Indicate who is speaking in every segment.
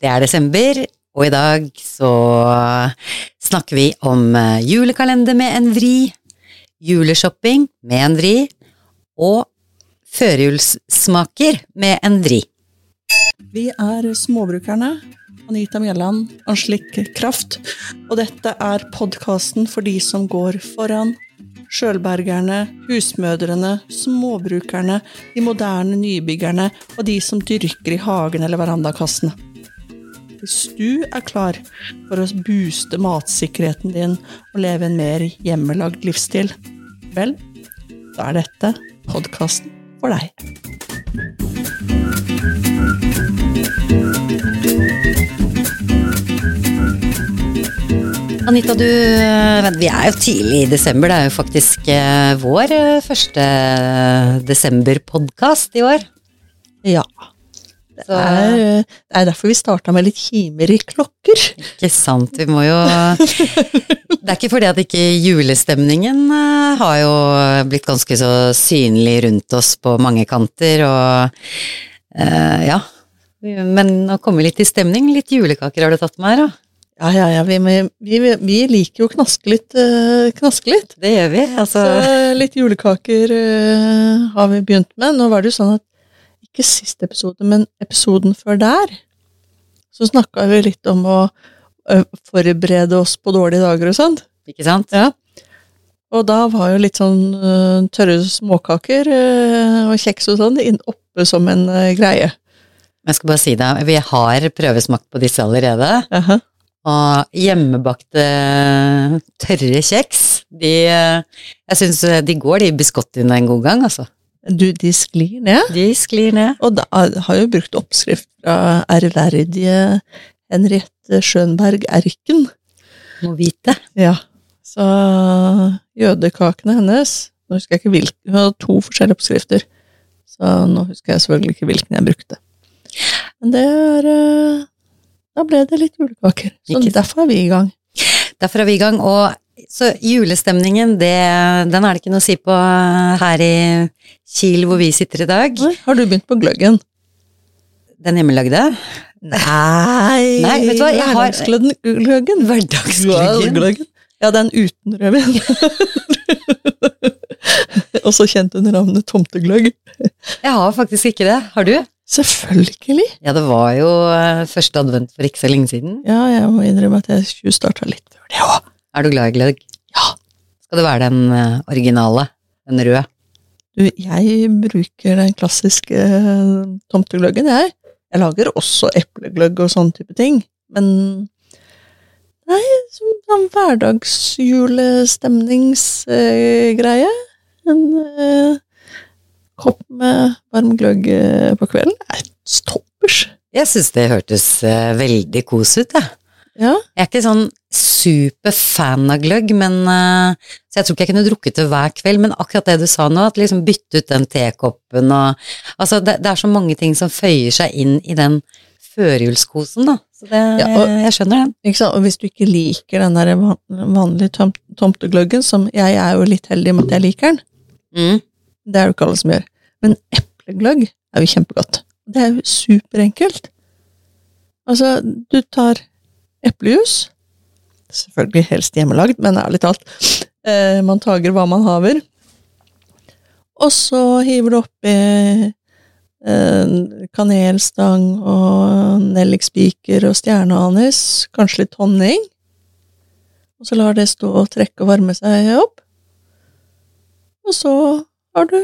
Speaker 1: Det er desember, og i dag så snakker vi om eh, julekalender med en vri, juleshopping med en vri, og førjulssmaker med en vri.
Speaker 2: Vi er småbrukerne. Anita Mjelland, Anslik Kraft. Og dette er podkasten for de som går foran. Sjølbergerne, husmødrene, småbrukerne, de moderne nybyggerne og de som dyrker i hagen eller verandakassene. Hvis du er klar for å booste matsikkerheten din og leve en mer hjemmelagd livsstil, vel, da er dette podkasten for deg.
Speaker 1: Anita, du, eh, vi er jo tidlig i desember. Det er jo faktisk eh, vår eh, første desemberpodkast i år.
Speaker 2: Ja.
Speaker 1: Så-
Speaker 2: Det er, eh, det er derfor vi starta med litt kimer i klokker.
Speaker 1: Ikke sant, vi må jo Det er ikke fordi at ikke julestemningen eh, har jo blitt ganske så synlig rundt oss på mange kanter, og eh, ja. Men å komme litt i stemning, litt julekaker har du tatt med her, da.
Speaker 2: Ja, ja, ja. Vi, vi, vi, vi liker jo å knaske litt. eh, knaske litt.
Speaker 1: Det gjør vi,
Speaker 2: Så
Speaker 1: altså.
Speaker 2: eh, litt julekaker eh, har vi begynt med. Nå var det jo sånn at ikke siste episode, men episoden før der, så snakka vi litt om å eh, forberede oss på dårlige dager og sånt.
Speaker 1: Ikke sant?
Speaker 2: Ja. Og da var jo litt sånn eh, tørre småkaker eh, og kjeks og sånn inn oppe som en eh, greie.
Speaker 1: Men jeg skal bare si det, vi har prøvesmakt på disse allerede.
Speaker 2: Aha.
Speaker 1: Og hjemmebakte tørre kjeks, de eh, Jeg syns de går, de biscottiene, en god gang, altså.
Speaker 2: Du, de sklir ned.
Speaker 1: De sklir ned.
Speaker 2: Og da har jeg jo brukt oppskrift fra ærverdige Henriette Schönberg Erken.
Speaker 1: Må vite.
Speaker 2: Ja. Så jødekakene hennes Nå husker jeg ikke hvilken Hun hadde to forskjellige oppskrifter. Så nå husker jeg selvfølgelig ikke hvilken jeg brukte. Men det er eh, Da ble det litt julekaker. Så
Speaker 1: Ikke sant.
Speaker 2: derfor er vi i gang.
Speaker 1: Derfor er vi i gang. Og så julestemningen, det, den er det ikke noe å si på eh, her i Kiel hvor vi sitter i dag.
Speaker 2: Har du begynt på gløggen?
Speaker 1: Den hjemmelagde.
Speaker 2: Nei,
Speaker 1: Nei, vet du hva, jeg har-
Speaker 2: Hverdagsgløggen. Hverdagsgløggen. Ja, den uten rødvin. Også kjent under navnet tomtegløgg.
Speaker 1: Jeg har faktisk ikke det. Har du?
Speaker 2: Selvfølgelig.
Speaker 1: Ja, det var jo eh, første advent for ikke så lenge siden.
Speaker 2: Ja, jeg må innrømme at jeg tjuvstarta litt før det òg.
Speaker 1: Er du glad i gløgg?
Speaker 2: Ja.
Speaker 1: Skal det være den eh, originale? Den røde?
Speaker 2: Du, jeg bruker den klassiske eh, tomtegløggen, jeg. Jeg lager også eplegløgg og sånne type ting, men Nei, som sånn hverdagssjulestemningsgreie. En eh, kopp med varm gløgg eh, på kvelden er toppers.
Speaker 1: Jeg syns det hørtes eh, veldig kos ut, jeg.
Speaker 2: Ja.
Speaker 1: Jeg er ikke sånn superfan av gløgg, men eh, Så jeg tror ikke jeg kunne drukket det hver kveld, men akkurat det du sa nå, at liksom bytte ut den tekoppen og Altså, det, det er så mange ting som føyer seg inn i den førjulskosen, da. Så det
Speaker 2: Ja, og-
Speaker 1: Jeg skjønner den.
Speaker 2: Ikke sant? Og hvis du ikke liker den der van- vanlige tom tomtegløggen, som jeg er jo litt heldig med at jeg liker den,
Speaker 1: Mm.
Speaker 2: Det er det ikke alle som gjør. Men eplegløgg er jo kjempegodt. Det er jo superenkelt. Altså, du tar eplejus. Selvfølgelig helst hjemmelagd, men ærlig talt. Eh, man tager hva man haver. Og så hiver du oppi eh, kanelstang og nellikspiker og stjerneanis. Kanskje litt honning. Og så lar det stå og trekke og varme seg opp. Og så har du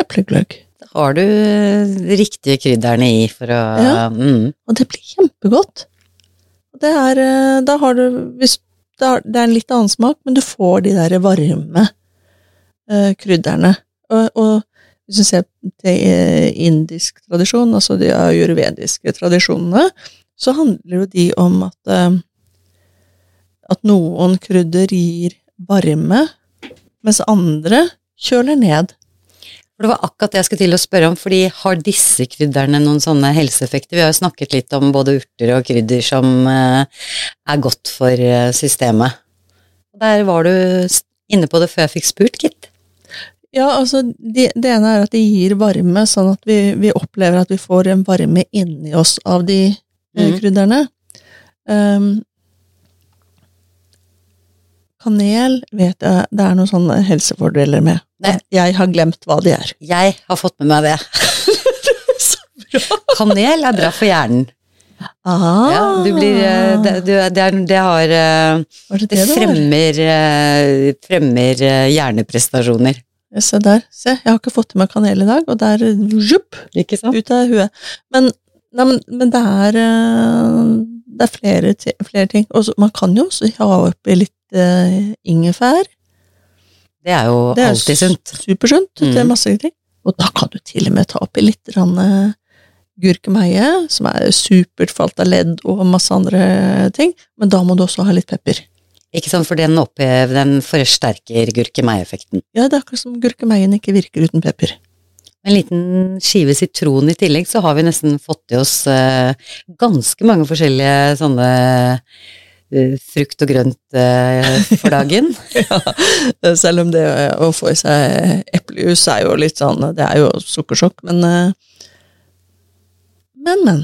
Speaker 2: eplegløgg.
Speaker 1: Da har du eh, riktige krydderne i for å
Speaker 2: Ja.
Speaker 1: mm.
Speaker 2: Og det blir kjempegodt. Og Det er, eh, da har du, hvis, det har- det er en litt annen smak, men du får de der varme eh, krydderne. Og, og hvis du ser til eh, indisk tradisjon, altså de ayurvediske tradisjonene, så handler jo de om at, eh, at noen krydder gir varme, mens andre kjøler ned.
Speaker 1: For det var akkurat det jeg skulle til å spørre om, fordi har disse krydderne noen sånne helseeffekter? Vi har jo snakket litt om både urter og krydder som eh, er godt for eh, systemet. Og der var du s- inne på det før jeg fikk spurt, gitt.
Speaker 2: Ja, altså det, det ene er at de gir varme, sånn at vi, vi opplever at vi får en varme inni oss av de eh,
Speaker 1: Mhm.
Speaker 2: krydderne. Ehm, kanel vet jeg det er noen sånne helsefordeler med.
Speaker 1: Nei.
Speaker 2: Jeg har glemt hva de er.
Speaker 1: Jeg har fått med meg det. Kanel er bra for hjernen.
Speaker 2: Ah,
Speaker 1: Ja, du blir, eh, det, du, det, er, det har eh,
Speaker 2: Var
Speaker 1: Det
Speaker 2: det det det var?
Speaker 1: fremmer, eh, fremmer eh, hjerneprestasjoner.
Speaker 2: Ja, Se der. Se, jeg har ikke fått i meg kanel i dag, og der jupp,
Speaker 1: Ikke sant?
Speaker 2: ut av huet. Men, nei, men, men det er eh, det er flere, ti- flere ting. Og så- man kan jo også ha oppi litt eh, ingefær.
Speaker 1: Det er jo
Speaker 2: Det er
Speaker 1: alltid sunt.
Speaker 2: Supersunt. Det er
Speaker 1: Mm.
Speaker 2: masse ting. Og da kan du til og med ta oppi litt grann, eh, gurkemeie, som er supert for alt av ledd og masse andre ting. Men da må du også ha litt pepper.
Speaker 1: Ikke sant, for den, opphev, den forsterker gurkemeieeffekten.
Speaker 2: Ja, det er akkurat som gurkemeien ikke virker uten pepper.
Speaker 1: En liten skive sitron i tillegg, så har vi nesten fått i oss eh, ganske mange forskjellige sånne eh, frukt og grønt eh, for dagen.
Speaker 2: Eh, Selv om det eh, å få i seg eplejus er jo litt sånn Det er jo sukkersjokk, men eh, Men, men.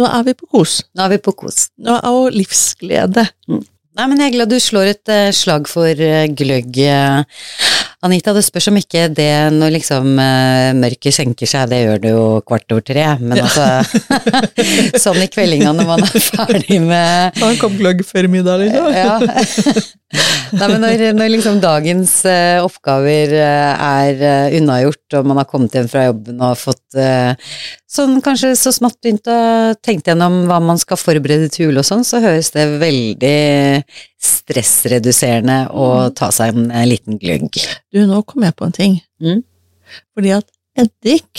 Speaker 2: Nå er vi på kos.
Speaker 1: Nå er vi på kos.
Speaker 2: Nå er jo livsglede.
Speaker 1: Nei, men jeg er glad du slår et eh, slag for eh, gløgg, eh, Anita. Det spørs om ikke det når liksom eh, mørket senker seg, det gjør det jo kvart over tre, men altså Sånn i kveldinga når man er ferdig med
Speaker 2: Ta en kopp gløgg før middag, liksom.
Speaker 1: ja. Nei, men når, når liksom dagens eh, oppgaver eh, er eh, unnagjort, og man har kommet hjem fra jobben og fått eh, sånn kanskje så smått begynt å tenke gjennom hva man skal forberede til jul og sånn, så høres det veldig stressreduserende å ta seg en eh, liten gløgg.
Speaker 2: Du, nå kom jeg på en ting.
Speaker 1: Mm.
Speaker 2: Fordi at eddik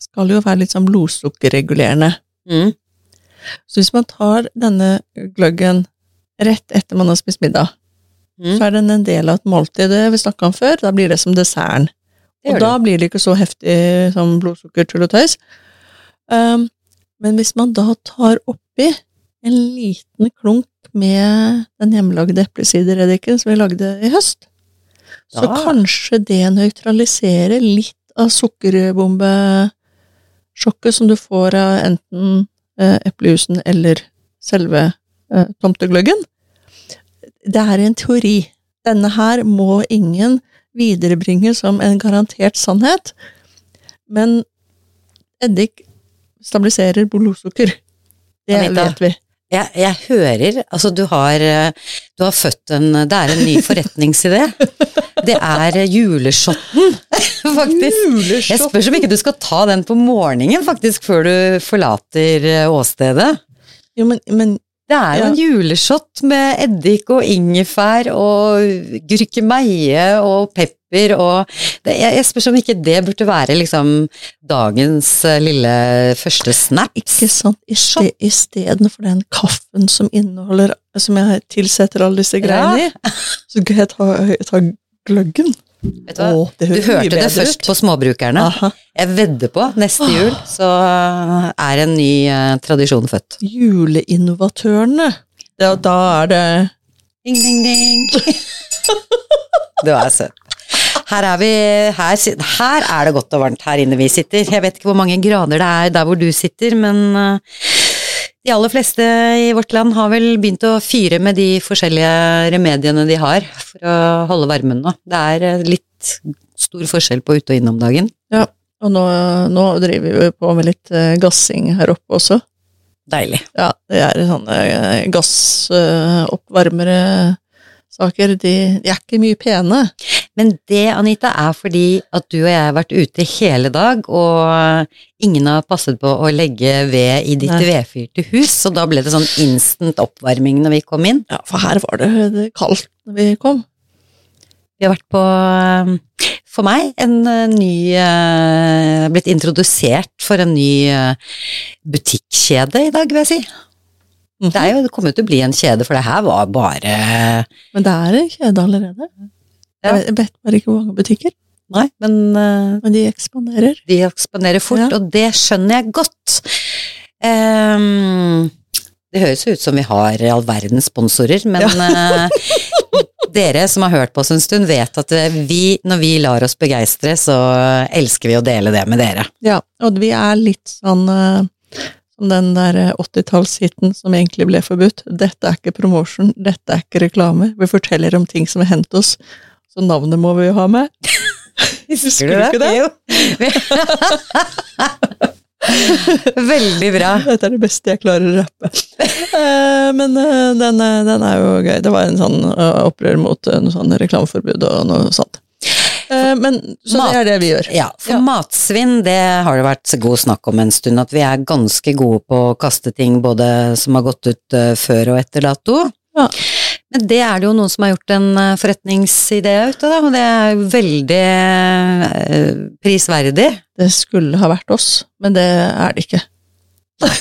Speaker 2: skal jo være litt sånn blodsukkerregulerende.
Speaker 1: Mm.
Speaker 2: Så hvis man tar denne gløggen rett etter man har spist middag,
Speaker 1: Mm.
Speaker 2: så er den en del av et måltid. Det vi snakka om før, da blir det som desserten.
Speaker 1: Det
Speaker 2: og
Speaker 1: gjør
Speaker 2: da blir det ikke så heftig som blodsukkertull og tøys. Um, men hvis man da tar oppi en liten klunk med den hjemmelagde eplesidereddiken som vi lagde i høst, så
Speaker 1: Da.
Speaker 2: kanskje det nøytraliserer litt av sukkerbombesjokket som du får av enten eh, eplejusen eller selve eh, tomtegløggen. Det er en teori. Denne her må ingen viderebringe som en garantert sannhet, men eddik stabiliserer blodsukker. Det
Speaker 1: Anita.
Speaker 2: vet vi.
Speaker 1: Jeg, jeg hører Altså, du har, eh, du har født en Det er en ny forretningsidé. Det er eh, juleshotten, faktisk. Jeg
Speaker 2: Juleshot.
Speaker 1: spørs om ikke du skal ta den på morgenen faktisk, før du forlater eh, åstedet.
Speaker 2: Jo, men, men
Speaker 1: Det er jo
Speaker 2: Ja.
Speaker 1: en juleshot med eddik og ingefær og gurkemeie og pepper og det, jeg, jeg spørs om ikke det burde være liksom dagens eh, lille første snaps.
Speaker 2: ikke sant, I ste- istedenfor den kaffen som inneholder Som jeg tilsetter alle disse greiene i, så skal jeg ta, ta gløggen.
Speaker 1: Vet du hva?
Speaker 2: Å, det
Speaker 1: Du
Speaker 2: høres mye
Speaker 1: hørte det
Speaker 2: bedre
Speaker 1: først
Speaker 2: ut. Ah.
Speaker 1: på småbrukerne.
Speaker 2: Aha.
Speaker 1: Jeg vedder på neste jul så er en ny eh, tradisjon født.
Speaker 2: Juleinnovatørene. Ja, da er det
Speaker 1: Ding, ding, ding. Du er søt. Her er, vi, her, sit- her er det godt og varmt her inne vi sitter. Jeg vet ikke hvor mange grader det er der hvor du sitter, men eh, de aller fleste i vårt land har vel begynt å fyre med de forskjellige remediene de har for å holde varmen nå. Det er eh, litt stor forskjell på ute og inne om dagen.
Speaker 2: Og nå, nå driver vi på med litt eh, gassing her oppe også.
Speaker 1: Deilig.
Speaker 2: Ja, det er sånne eh, gassoppvarmere saker. De, de er ikke mye pene.
Speaker 1: Men det, Anita, er fordi at du og jeg har vært ute hele dag, og ingen har passet på å legge ved i ditt
Speaker 2: Nei.
Speaker 1: vedfyrte hus, så da ble det sånn instant oppvarming når vi kom inn.
Speaker 2: Ja, for her var det det kaldt når vi kom.
Speaker 1: Vi har vært på, eh, for meg, en eh, ny eh, Blitt introdusert for en ny eh, butikkjede i dag, vil jeg si. Det, er jo, det kommer jo til å bli en kjede, for det her var bare
Speaker 2: Men det er en kjede allerede.
Speaker 1: Ja.
Speaker 2: Jeg vet- Jeg vet bare ikke hvor mange butikker,
Speaker 1: Nei, men eh,
Speaker 2: men de ekspanderer.
Speaker 1: De eksponerer fort,
Speaker 2: Ja.
Speaker 1: og det skjønner jeg godt. Ehm, det høres jo ut som vi har all verdens sponsorer, men eh, dere som har hørt på oss en stund, vet at eh, vi, når vi lar oss begeistre, så elsker vi å dele det med dere.
Speaker 2: Ja, og vi er litt sånn eh, Som den der eh, 80-tallshiten som egentlig ble forbudt. Dette er ikke promotion, dette er ikke reklame. Vi forteller om ting som har hendt oss. Så navnet må vi jo ha med. Husker du ikke det?
Speaker 1: Jo. Veldig bra.
Speaker 2: Dette er det beste jeg klarer å rappe. Eh, Men eh, den, eh, den er jo gøy. Det var en sånn eh, opprør mot eh, noe sånn reklameforbud og noe sånt. Eh, Men så det er det vi gjør.
Speaker 1: Ja, for
Speaker 2: Ja.
Speaker 1: matsvinn det har det vært god snakk om en stund, at vi er ganske gode på å kaste ting både som har gått ut eh, før og etter dato.
Speaker 2: Ja.
Speaker 1: Men det er det jo noen som har gjort en eh, forretningsidé ut av, da, og det er jo veldig eh, prisverdig.
Speaker 2: Det skulle ha vært oss, men det er det ikke.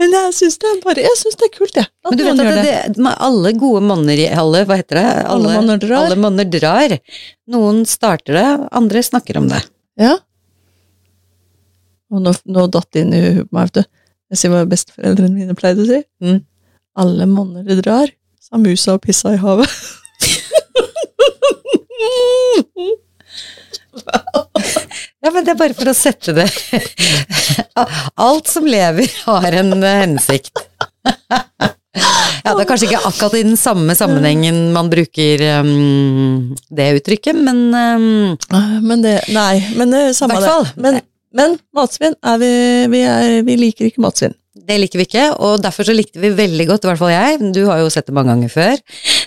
Speaker 2: men jeg syns det er bare Jeg syns det er kult, jeg. At
Speaker 1: Men du vet
Speaker 2: noen
Speaker 1: at
Speaker 2: gjør
Speaker 1: det, det, men alle gode monner i alle, hva heter det?
Speaker 2: Alle monner drar.
Speaker 1: alle monner drar. Noen starter det, andre snakker om det.
Speaker 2: Ja. Og nå, nå datt det inn i huet på meg, vet du. Jeg sier hva besteforeldrene mine pleide å si.
Speaker 1: Mm.
Speaker 2: Alle monner det drar, sa musa og pissa i havet.
Speaker 1: Ja, men det er bare for å sette det Alt som lever har en eh, hensikt. Ja, det er kanskje ikke akkurat i den samme sammenhengen man bruker ehm, det uttrykket, men ehm,
Speaker 2: Nei, Ah, Men det Nei, men det, samme det.
Speaker 1: Hvertfall.
Speaker 2: Men, men matsvinn er vi vi, er, vi liker ikke matsvinn.
Speaker 1: Det liker vi ikke, og derfor så likte vi veldig godt, i hvert fall jeg, du har jo sett det mange ganger før,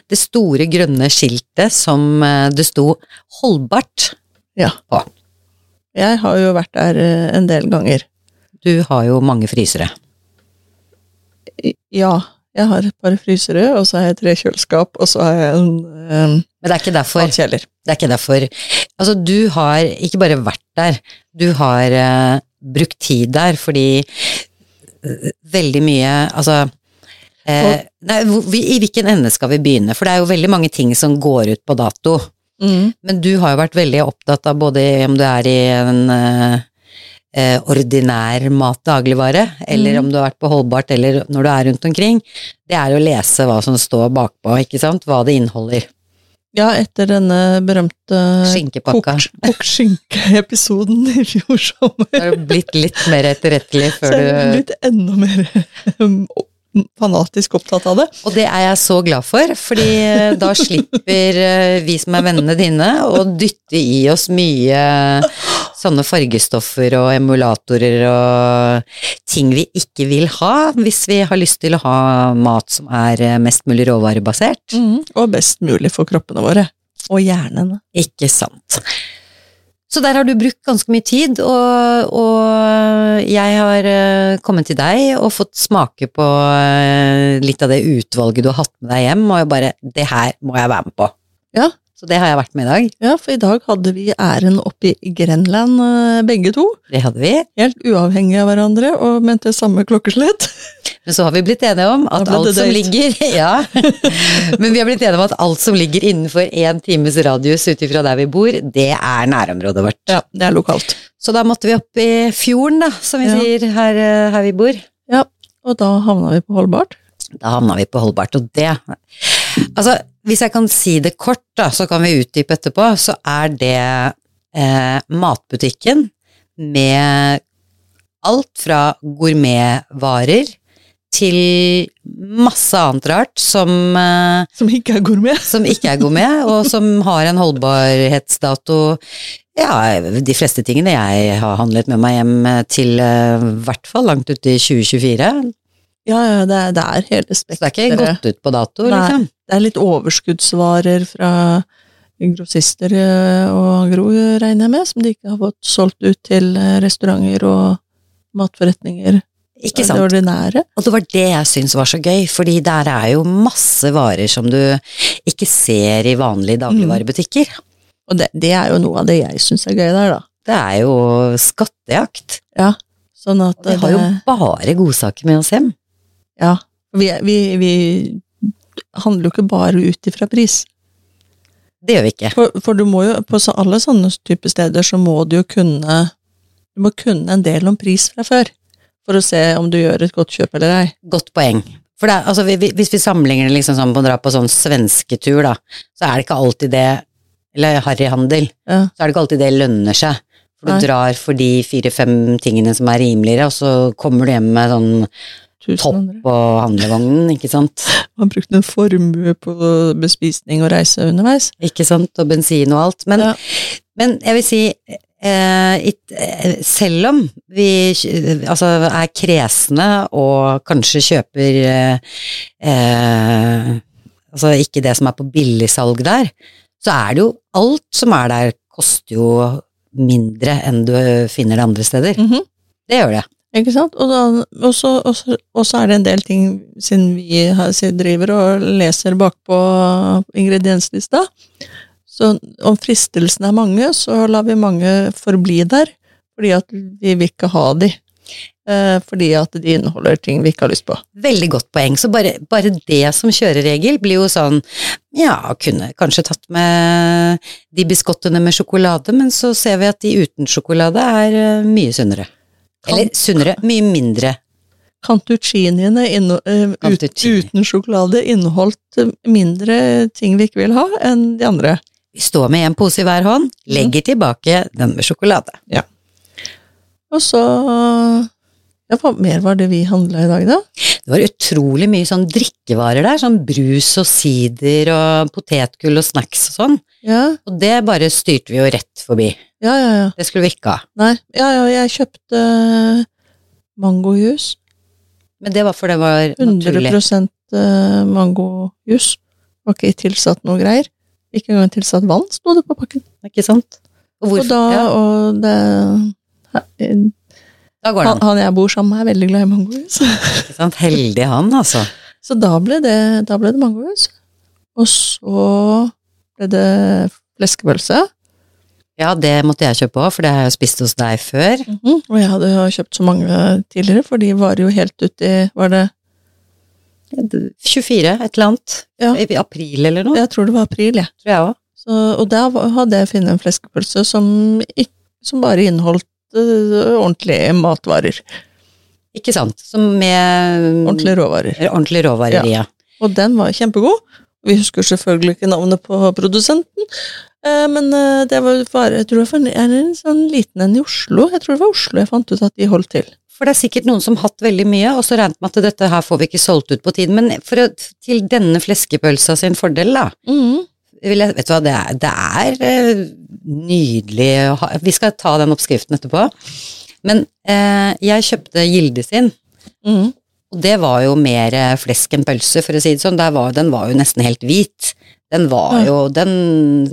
Speaker 1: det store grønne skiltet som eh, det sto 'holdbart'
Speaker 2: Ja.
Speaker 1: på.
Speaker 2: Jeg har jo vært der eh, en del ganger.
Speaker 1: Du har jo mange frysere.
Speaker 2: I- Ja, jeg har et par frysere, og så har jeg tre kjøleskap, og så har jeg en, en
Speaker 1: Men det er ikke derfor.
Speaker 2: matkjeller.
Speaker 1: Det er ikke derfor. Altså, du har ikke bare vært der, du har eh, brukt tid der, fordi eh, veldig mye Altså eh, nei, hvor- vi, I hvilken ende skal vi begynne? For det er jo veldig mange ting som går ut på dato.
Speaker 2: Mm.
Speaker 1: Men du har jo vært veldig opptatt av både om du er i en eh, eh, ordinær mat, dagligvare, eller
Speaker 2: Mhm.
Speaker 1: om du har vært på holdbart, eller når du er rundt omkring, det er å lese hva som står bakpå, ikke sant? Hva det inneholder.
Speaker 2: Ja, etter denne berømte
Speaker 1: Skinkepakka.
Speaker 2: kokt- kokt skinke-episoden i fjor sommer,
Speaker 1: Da har du blitt litt mer etterrettelig
Speaker 2: så
Speaker 1: før
Speaker 2: er jeg
Speaker 1: du
Speaker 2: blitt enda mer um, fanatisk opptatt av det.
Speaker 1: Og det er jeg så glad for, fordi eh, da slipper eh, vi som er vennene dine å dytte i oss mye sånne fargestoffer og emulatorer og ting vi ikke vil ha, hvis vi har lyst til å ha mat som er eh, mest mulig råvarebasert.
Speaker 2: Og best mulig for kroppene våre. Mm. Og hjernen.
Speaker 1: Ikke sant. Så der har du brukt ganske mye tid, og, og jeg har eh, kommet til deg og fått smake på eh, litt av det utvalget du har hatt med deg hjem, og jeg bare Det her må jeg være med på.
Speaker 2: Ja.
Speaker 1: Så det har jeg vært med i dag.
Speaker 2: Ja, for i dag hadde vi æren oppe i Grenland, eh, begge to.
Speaker 1: Det hadde vi.
Speaker 2: Helt uavhengig av hverandre, og mente samme klokkeslett.
Speaker 1: Men så har vi blitt enige om at
Speaker 2: Da ble
Speaker 1: alt
Speaker 2: det
Speaker 1: som
Speaker 2: date.
Speaker 1: ligger Ja. Men vi har blitt enige om at alt som ligger innenfor én times radius ut ifra der vi bor, det er nærområdet vårt.
Speaker 2: Ja, det er lokalt.
Speaker 1: Så da måtte vi opp i fjorden, da, som vi
Speaker 2: Ja.
Speaker 1: sier her, eh, her vi bor.
Speaker 2: Og da havna vi på Holbart.
Speaker 1: Da havna vi på holdbart, og det Altså, hvis jeg kan si det kort, da, så kan vi utdype etterpå, så er det eh, matbutikken med alt fra gourmetvarer til masse annet rart som, eh,
Speaker 2: Som ikke er gourmet.
Speaker 1: som ikke er gourmet, og som har en holdbarhetsdato ja, de fleste tingene jeg har handlet med meg hjem eh, til eh, i hvert fall langt ut i 2024.
Speaker 2: Ja, ja, det er, det er hele
Speaker 1: Så det er ikke
Speaker 2: spekteret.
Speaker 1: gått ut på dato,
Speaker 2: Nei.
Speaker 1: liksom.
Speaker 2: Det er litt overskuddsvarer fra grossister eh, og Gro, regner jeg med, som de ikke har fått solgt ut til eh, restauranter og matforretninger.
Speaker 1: Ikke
Speaker 2: Det
Speaker 1: sant.
Speaker 2: ordinære.
Speaker 1: Og det var det jeg syntes var så gøy, fordi der er jo masse varer som du ikke ser i vanlige dagligvarebutikker.
Speaker 2: Mm. Og det, det er jo noe av det jeg syns er gøy der, da.
Speaker 1: Det er jo skattejakt.
Speaker 2: Sånn at
Speaker 1: Vi har jo
Speaker 2: det-
Speaker 1: bare godsaker med oss hjem.
Speaker 2: Ja. Vi, vi, vi handler jo ikke bare ut ifra pris.
Speaker 1: Det gjør vi ikke.
Speaker 2: For, for du må jo, på så- alle sånne type steder, så må du jo kunne Du må kunne en del om pris fra før. For å se om du gjør et godt kjøp eller ei.
Speaker 1: Godt poeng. For det er, altså, vi, vi, hvis vi sammenligner det liksom sånn på å dra på sånn svensketur, da, så er det ikke alltid det Eller harryhandel,
Speaker 2: Ja.
Speaker 1: så er det ikke alltid det lønner seg. For du
Speaker 2: Nei.
Speaker 1: drar for de fire-fem tingene som er rimeligere, og så kommer du hjem med sånn
Speaker 2: Tusen andre.
Speaker 1: topp og handlevognen, ikke sant?
Speaker 2: Man brukte en formue på bespisning og reise underveis.
Speaker 1: Ikke sant? Og bensin og alt. Men,
Speaker 2: Ja.
Speaker 1: men jeg vil si eh, it, eh, selv om vi eh, altså, er kresne og kanskje kjøper eh, eh, Altså ikke det som er på billigsalg der, så er det jo alt som er der, koster jo mindre enn du finner det andre steder.
Speaker 2: Mhm.
Speaker 1: Det gjør det.
Speaker 2: Ikke sant? Og, da, og, så, og, så, og så er det en del ting, siden vi har, siden driver og leser bakpå ingredienslista Så om fristelsene er mange, så lar vi mange forbli der, fordi at vi vil ikke ha de. Eh, fordi at de inneholder ting vi ikke har lyst på.
Speaker 1: Veldig godt poeng. Så bare, bare det som kjøreregel blir jo sånn Ja, kunne kanskje tatt med de biskottene med sjokolade, men så ser vi at de uten sjokolade er eh, mye sunnere.
Speaker 2: Kan-
Speaker 1: Eller sunnere, mye mindre.
Speaker 2: Cantucciniene inno, eh, ut-
Speaker 1: Cantuccini.
Speaker 2: uten sjokolade inneholdt eh, mindre ting vi ikke vil ha, enn de andre.
Speaker 1: Vi står med en pose i hver hånd, legger tilbake den med sjokolade.
Speaker 2: Og så ja, Hva mer var det vi handla i dag, da?
Speaker 1: Det var utrolig mye sånn drikkevarer der, sånn brus og sider og potetgull og snacks og sånn.
Speaker 2: Ja,
Speaker 1: Og det bare styrte vi jo rett forbi.
Speaker 2: ja, ja. ja.
Speaker 1: Det skulle vi ikke ha.
Speaker 2: Nei, ja, ja, jeg kjøpte eh, mangojus.
Speaker 1: Men det var for det var naturlig.
Speaker 2: 100 eh, mangojus. Var ikke tilsatt noe greier. Ikke engang tilsatt vann, sto det på pakken.
Speaker 1: Ikke sant? Og, hvorfor,
Speaker 2: Og da,
Speaker 1: ja,
Speaker 2: og det han,
Speaker 1: da går det an.
Speaker 2: han jeg bor sammen med, er veldig glad i mangojus.
Speaker 1: Ikke sant? Heldig han, altså.
Speaker 2: Så da ble det, da ble det mangojus. Og så ble det fleskepølse.
Speaker 1: Ja, det måtte jeg kjøpe òg, for det har jeg jo spist hos deg før.
Speaker 2: Og jeg hadde jo kjøpt så mange tidligere, for de var jo helt ute i Var det
Speaker 1: 24, et eller annet.
Speaker 2: Ja.
Speaker 1: I april eller noe,
Speaker 2: Jeg tror det var april, jeg.
Speaker 1: tror jeg òg.
Speaker 2: Så, og der var- hadde jeg funnet en fleskepølse som, ikk- som bare inneholdt eh, ordentlige matvarer.
Speaker 1: Ikke sant. Som med mm,
Speaker 2: Ordentlige råvarer.
Speaker 1: ordentlig råvarer i, ja.
Speaker 2: Og den var kjempegod. Vi husker selvfølgelig ikke navnet på produsenten, eh, men eh, det var bare Jeg tror det var en- er en sånn liten en i Oslo. Jeg tror det var Oslo jeg fant ut at de holdt til.
Speaker 1: For det er sikkert noen som har hatt veldig mye, og så regnet med at dette her får vi ikke solgt ut på tiden. Men for å, til denne fleskepølsa sin fordel, da.
Speaker 2: Mm-hmm.
Speaker 1: Vil jeg, vet du hva, det er, det er eh, nydelig å ha Vi skal ta den oppskriften etterpå. Men eh, jeg kjøpte Gilde sin.
Speaker 2: Mhm.
Speaker 1: Og det var jo mer eh, flesk enn pølse, for å si det sånn. Der var, den var jo nesten helt hvit. Den var
Speaker 2: Ja.
Speaker 1: jo Den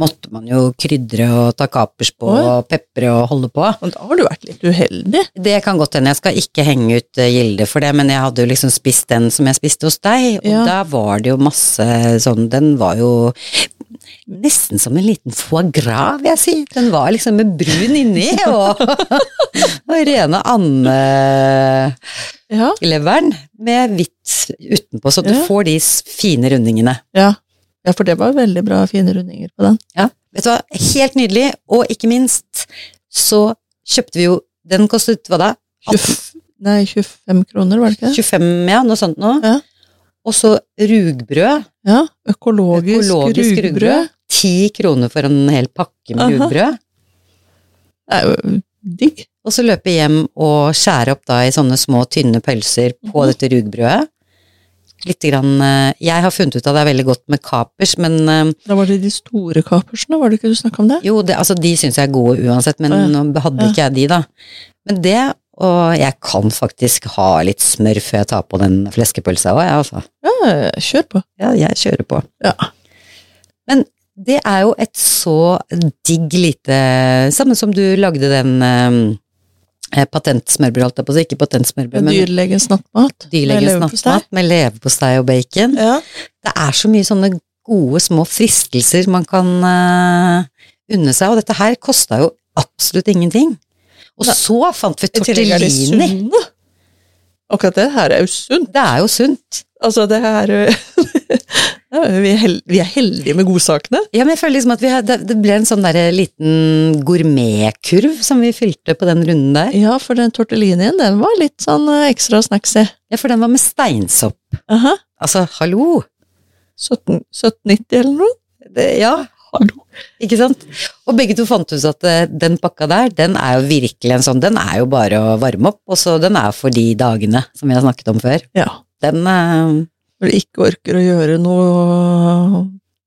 Speaker 1: måtte man jo krydre og ta kapers på
Speaker 2: Oi.
Speaker 1: og pepre og holde på.
Speaker 2: Og da har du vært litt uheldig.
Speaker 1: Det kan godt hende. Jeg skal ikke henge ut eh, Gilde for det, men jeg hadde jo liksom spist den som jeg spiste hos deg, og
Speaker 2: Ja.
Speaker 1: der var det jo masse sånn Den var jo nesten som en liten foie gras, vil jeg si. Den var liksom med brun inni, og, og rene andeleveren
Speaker 2: Ja.
Speaker 1: med hvitt utenpå, så du
Speaker 2: Ja.
Speaker 1: får de s- fine rundingene.
Speaker 2: ja. Ja, for det var veldig bra, fine rundinger på den.
Speaker 1: Ja, vet du hva, helt nydelig, og ikke minst så kjøpte vi jo Den kostet hva da?
Speaker 2: 20, nei, 25 kroner, var det ikke det?
Speaker 1: 25, ja, noe sånt nå.
Speaker 2: Ja.
Speaker 1: Og så rugbrød.
Speaker 2: Ja, økologisk,
Speaker 1: Økologisk rugbrød.
Speaker 2: rugbrød.
Speaker 1: Ti kroner for en hel pakke med
Speaker 2: Aha.
Speaker 1: rugbrød.
Speaker 2: Det er jo digg.
Speaker 1: Og så løpe hjem og skjære opp da i sånne små, tynne pølser på
Speaker 2: Mhm.
Speaker 1: dette rugbrødet. Litt grann, eh, jeg har funnet ut at det er veldig godt med kapers, men eh,
Speaker 2: Da var det de store kapersene, var det ikke du snakka om det?
Speaker 1: jo, det, altså, de syns jeg er gode uansett, men
Speaker 2: Å, ja.
Speaker 1: nå hadde ikke jeg de, da. Men det, og jeg kan faktisk ha litt smør før jeg tar på den fleskepølsa òg, jeg, altså.
Speaker 2: Ja, kjør på.
Speaker 1: Ja, jeg kjører på.
Speaker 2: Ja.
Speaker 1: Men det er jo et så digg lite Samme som du lagde den eh, patentsmørbrød, holdt jeg på å si. Ikke patentsmørbrød, men
Speaker 2: Dyrlegens nattmat.
Speaker 1: dyrlegens
Speaker 2: Med leverpostei.
Speaker 1: nattmat med leverpostei og bacon.
Speaker 2: Ja.
Speaker 1: Det er så mye sånne gode små fristelser man kan eh, unne seg, og dette her kosta jo absolutt ingenting. Og
Speaker 2: Nei.
Speaker 1: så fant vi
Speaker 2: I tillegg er de
Speaker 1: tortellini.
Speaker 2: sunne. Akkurat det her er jo sunt.
Speaker 1: Det er jo sunt.
Speaker 2: Altså, det her Ja, vi, er hel- vi er heldige med godsakene.
Speaker 1: Ja, men jeg føler liksom at vi har, det, det ble en sånn der liten gourmetkurv som vi fylte på den runden der.
Speaker 2: Ja, for den tortellinien, den var litt sånn eh, ekstra snacksy.
Speaker 1: Ja, for den var med steinsopp.
Speaker 2: Aha.
Speaker 1: Altså, hallo!
Speaker 2: 17, 1790 eller noe?
Speaker 1: Det, ja,
Speaker 2: Hallo.
Speaker 1: Ikke sant? Og begge to fant ut at eh, den pakka der, den er jo virkelig en sånn, den er jo bare å varme opp, og så den er for de dagene som vi har snakket om før.
Speaker 2: Ja.
Speaker 1: Den eh,
Speaker 2: Når du ikke orker å gjøre noe,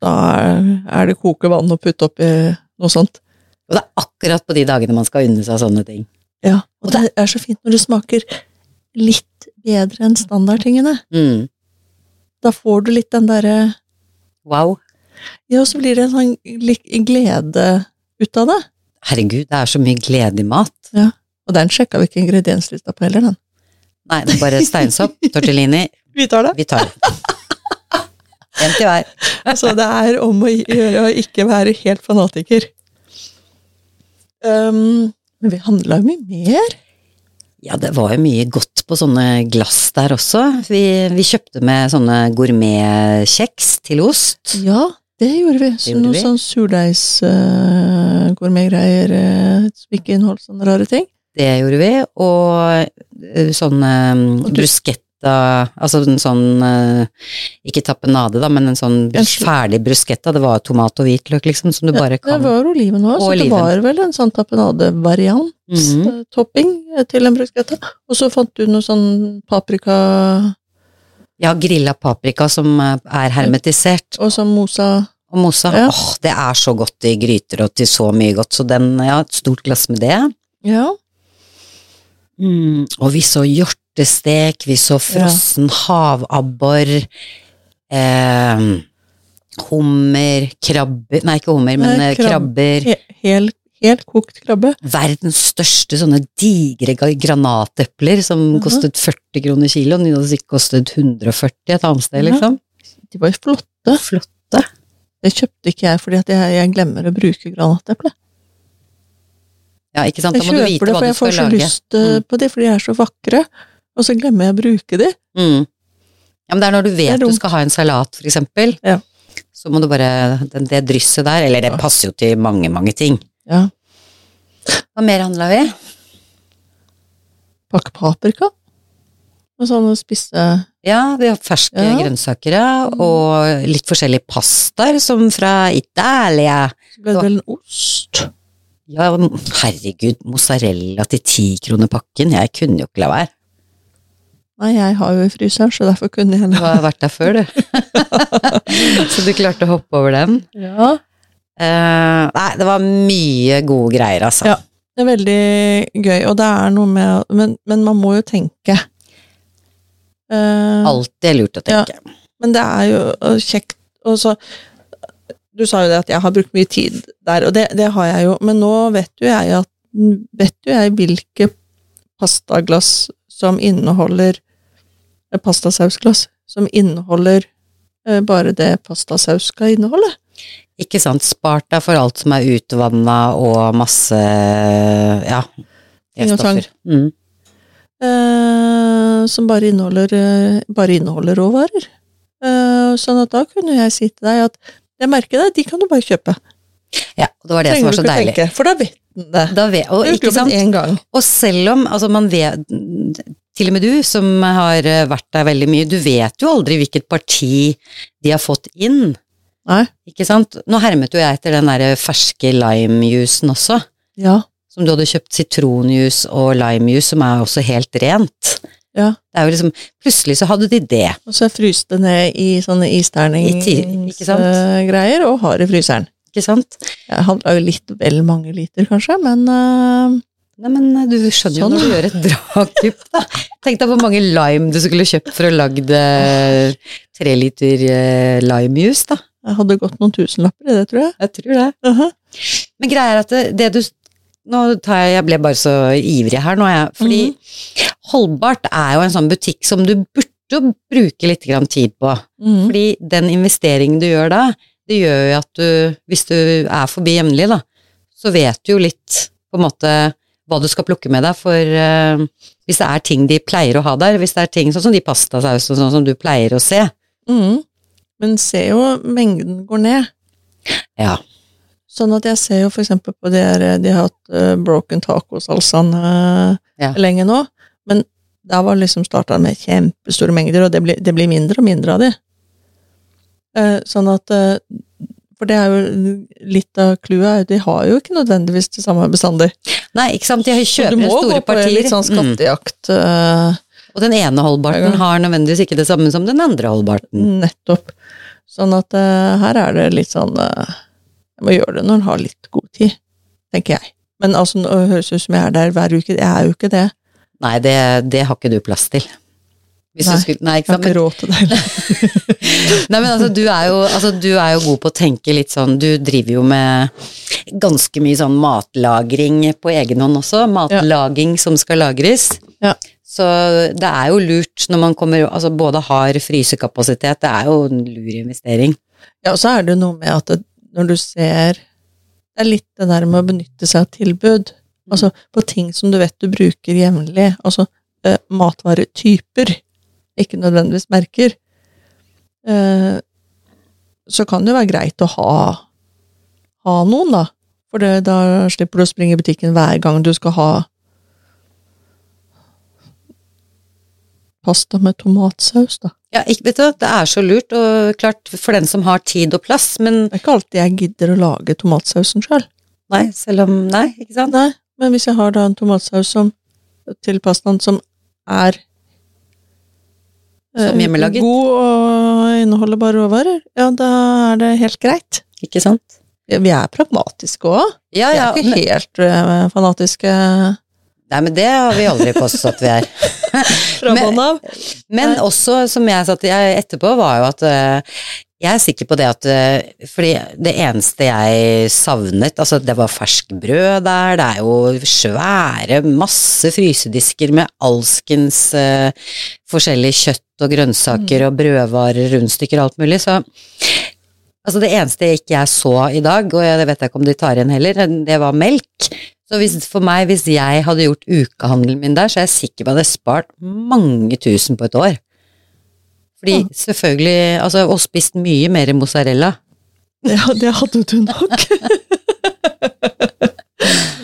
Speaker 2: da er- er det koke vann og putte oppi noe sånt.
Speaker 1: Og det er akkurat på de dagene man skal unne seg sånne ting.
Speaker 2: Ja. Og det er så fint når det smaker litt bedre enn standardtingene.
Speaker 1: Mm.
Speaker 2: Da får du litt den derre
Speaker 1: Wow.
Speaker 2: Ja, og så blir det en sånn li- glede ut av det.
Speaker 1: Herregud, det er så mye glede i mat.
Speaker 2: Og den sjekka vi ikke ingredienslista på heller, den.
Speaker 1: Nei, det er bare steinsopp, tortellini,
Speaker 2: Vi tar det.
Speaker 1: vi tar det. En til hver.
Speaker 2: Så Altså, det er om å gjøre å ikke være helt fanatiker. Ehm, men vi handla jo mye mer.
Speaker 1: Ja, det var jo mye godt på sånne glass der også. Vi, vi kjøpte med sånne gourmetkjeks til ost.
Speaker 2: Ja, det gjorde vi. Så
Speaker 1: gjorde
Speaker 2: noe
Speaker 1: vi.
Speaker 2: sånn surdeigsgourmetgreier uh, som ikke inneholdt sånne rare ting.
Speaker 1: Det gjorde vi. Og eh, sånn eh, bruschetta Altså en sånn eh, Ikke tapenade, da, men en sånn
Speaker 2: En sl-
Speaker 1: ferdig bruschetta. Det var tomat og hvitløk, liksom, som du bare
Speaker 2: Det
Speaker 1: kan
Speaker 2: var oliven òg, så
Speaker 1: Og
Speaker 2: det
Speaker 1: oliven.
Speaker 2: var vel en sånn tapenade-variant.
Speaker 1: Mhm.
Speaker 2: eh, Topping eh, til en bruschetta. Og så fant du noe sånn paprika
Speaker 1: Ja, grilla paprika som eh, er hermetisert.
Speaker 2: og sånn mosa
Speaker 1: Og mosa.
Speaker 2: Ja.
Speaker 1: Åh, det er så godt i gryter og til så mye godt. Så den, ja, et stort glass med det.
Speaker 2: Ja.
Speaker 1: Mm, og vi så hjortestek, vi så frossen havabbor, eh, hummer, krabber Nei, ikke hummer, men
Speaker 2: Nei,
Speaker 1: eh,
Speaker 2: krab-
Speaker 1: krabber.
Speaker 2: He- Hel, helt kokt krabbe.
Speaker 1: Verdens største sånne digre ga- granatepler som
Speaker 2: Jaha.
Speaker 1: kostet 40 kroner kiloen. De hadde sikkert kostet 140 et annet sted,
Speaker 2: Ja.
Speaker 1: liksom.
Speaker 2: De var jo flotte.
Speaker 1: Flott.
Speaker 2: Det kjøpte ikke jeg fordi at jeg, jeg glemmer å bruke granateple.
Speaker 1: Ja, ikke sant?
Speaker 2: Jeg
Speaker 1: Da må du
Speaker 2: kjøper det
Speaker 1: vite hva
Speaker 2: fordi
Speaker 1: du
Speaker 2: jeg får
Speaker 1: skal
Speaker 2: så
Speaker 1: lage.
Speaker 2: lyst eh, på de, fordi de er så vakre. Og så glemmer jeg å bruke de.
Speaker 1: Mm. Ja, men det er når du
Speaker 2: er
Speaker 1: vet du
Speaker 2: dumt.
Speaker 1: skal ha en salat, for eksempel.
Speaker 2: Ja.
Speaker 1: Så må du bare Det, det drysset der, eller det
Speaker 2: Ja.
Speaker 1: passer jo til mange, mange ting.
Speaker 2: Ja.
Speaker 1: Hva mer handla vi?
Speaker 2: Pakke paprika. Og sånn å spisse
Speaker 1: Ja, vi har ferske
Speaker 2: Ja. Mm.
Speaker 1: grønnsaker ja, og litt forskjellige pastaer, som fra Italia.
Speaker 2: Så ble det vel en ost.
Speaker 1: Ja, herregud, mozzarella til ti kroner pakken. Jeg kunne jo ikke la være.
Speaker 2: Nei, jeg har jo i fryseren, så derfor kunne jeg
Speaker 1: Du har vært der før, du. Så du klarte å hoppe over den.
Speaker 2: Ja.
Speaker 1: Eh, nei, det var mye gode greier, altså.
Speaker 2: Ja. Det er veldig gøy, og det er noe med Men, men man må jo tenke. Uh,
Speaker 1: Alltid er lurt å
Speaker 2: Ja.
Speaker 1: tenke.
Speaker 2: Men det er jo øh, kjekt og så, Du sa jo det at jeg har brukt mye tid der, og det, det har jeg jo, men nå vet jo jeg at Vet jo jeg hvilke pastaglass som inneholder eh, Pastasausglass som inneholder eh, bare det pastasaus skal inneholde.
Speaker 1: Ikke sant. Spart deg for alt som er utvanna og masse ja,
Speaker 2: Ting og tang.
Speaker 1: E-stoffer. Mm.
Speaker 2: Eh, som bare inneholder, eh, bare inneholder råvarer. Eh, sånn at da kunne jeg si til deg at det merket der, de kan du bare kjøpe.
Speaker 1: Ja, og det var det som var så
Speaker 2: ikke å
Speaker 1: deilig.
Speaker 2: tenke, for da vet den det.
Speaker 1: Da vet, og,
Speaker 2: Det er jo
Speaker 1: ikke
Speaker 2: klubben
Speaker 1: sant?
Speaker 2: én gang.
Speaker 1: Og selv om, altså man vet, til og med du som har eh, vært der veldig mye, du vet jo aldri hvilket parti de har fått inn,
Speaker 2: Nei.
Speaker 1: ikke sant? Nå hermet jo jeg etter den der ferske limejusen også,
Speaker 2: Ja.
Speaker 1: som du hadde kjøpt sitronjus og limejuice, som er også helt rent.
Speaker 2: Ja.
Speaker 1: Det er jo liksom, plutselig så hadde de det.
Speaker 2: Og så fryste det ned i sånne
Speaker 1: I ti- ikke sant?
Speaker 2: isterningsgreier, og har i fryseren.
Speaker 1: Ikke sant?
Speaker 2: Jeg handla jo litt vel mange liter, kanskje, men øh,
Speaker 1: Nei, men eh, du skjønner jo
Speaker 2: Sånn.
Speaker 1: når du gjør et dragkupp, da. Tenk deg hvor mange lime du skulle kjøpt for å lage det tre liter eh, limejus, da.
Speaker 2: jeg hadde gått noen tusenlapper i det, tror jeg.
Speaker 1: Jeg tror det.
Speaker 2: Aha.
Speaker 1: Men greia er at det, det du Nå tar jeg, jeg ble bare så ivrig her nå, jeg. Fordi Mm-hmm. Holdbart er jo en sånn butikk som du burde bruke litt grann tid på.
Speaker 2: Mhm.
Speaker 1: Fordi den investeringen du gjør da, det gjør jo at du, hvis du er forbi jevnlig, da, så vet du jo litt på en måte hva du skal plukke med deg, for eh, hvis det er ting de pleier å ha der, hvis det er ting sånn som de pastasausene og sånn som du pleier å se,
Speaker 2: Mhm. Men ser jo mengden går ned.
Speaker 1: ja,
Speaker 2: Sånn at jeg ser jo for eksempel på de her De har hatt eh, broken tacosalsaene uh,
Speaker 1: Ja.
Speaker 2: lenge nå. Men der var liksom starta med kjempestore mengder, og det blir, det blir mindre og mindre av de. Eh, sånn at eh, For det er jo litt av clouet. De har jo ikke nødvendigvis det samme bestandig.
Speaker 1: Nei, ikke sant, de
Speaker 2: Så
Speaker 1: kjøper
Speaker 2: du må gå
Speaker 1: store
Speaker 2: på en
Speaker 1: partier.
Speaker 2: litt sånn
Speaker 1: Mm.
Speaker 2: skattejakt. eh,
Speaker 1: Og den ene holdbarten har nødvendigvis ikke det samme som den andre
Speaker 2: Mm.
Speaker 1: holdbarten.
Speaker 2: Nettopp. Sånn at eh, her er det litt sånn eh, Jeg må gjøre det når en har litt god tid, tenker jeg. Men altså, nå høres det ut som jeg er der hver uke. Jeg er jo ikke det.
Speaker 1: Nei, det, det har ikke du plass til. Hvis
Speaker 2: Nei,
Speaker 1: du skulle, nei,
Speaker 2: Jeg
Speaker 1: ikke
Speaker 2: har
Speaker 1: sant, men
Speaker 2: ikke råd til det.
Speaker 1: Nei, men altså, du er, jo, altså, du er jo god på å tenke litt sånn Du driver jo med ganske mye sånn matlagring på egen hånd også. Matlaging som skal lagres.
Speaker 2: Ja.
Speaker 1: Så det er jo lurt når man kommer Altså både har frysekapasitet, det er jo en lur investering.
Speaker 2: Ja, og så er det jo noe med at det, når du ser Det er litt det der med å benytte seg av tilbud. Altså på ting som du vet du bruker jevnlig. Altså eh, matvaretyper, ikke nødvendigvis merker. Eh, så kan det jo være greit å ha, ha noen, da. For det, da slipper du å springe i butikken hver gang du skal ha pasta med tomatsaus, da.
Speaker 1: Ja, ikke, vet du, hva, det er så lurt, og klart for den som har tid og plass, men
Speaker 2: Det er ikke alltid jeg gidder å lage tomatsausen sjøl.
Speaker 1: nei, selv om Nei, ikke sant?
Speaker 2: Nei, men hvis jeg har da en tomatsaus som, til pastaen som er eh,
Speaker 1: Som hjemmelaget.
Speaker 2: God og inneholder bare råvarer, ja, da er det helt greit.
Speaker 1: Ikke sant?
Speaker 2: Ja, Vi er pragmatiske òg.
Speaker 1: Ja,
Speaker 2: Vi
Speaker 1: ja.
Speaker 2: er ikke
Speaker 1: Men,
Speaker 2: helt eh, fanatiske
Speaker 1: nei, men det har vi aldri påstått at vi er.
Speaker 2: fra
Speaker 1: Men-
Speaker 2: bånn av.
Speaker 1: Men
Speaker 2: Nei.
Speaker 1: også, som jeg sa til jeg etterpå, var jo at eh, jeg er sikker på det at eh, Fordi det eneste jeg savnet, altså det var fersk brød der, det er jo svære, masse frysedisker med alskens eh, forskjellig kjøtt og
Speaker 2: Mm.
Speaker 1: grønnsaker og brødvarer, rundstykker og alt mulig, så Altså det eneste jeg ikke jeg så i dag, og jeg- det vet jeg ikke om de tar igjen heller, det var melk. Så hvis, for meg, hvis jeg hadde gjort ukehandelen min der, så er jeg sikker på at jeg hadde spart mange tusen på et år. Fordi
Speaker 2: Ja.
Speaker 1: selvfølgelig, altså, og spist mye mer mozzarella.
Speaker 2: Ja, det hadde du nok.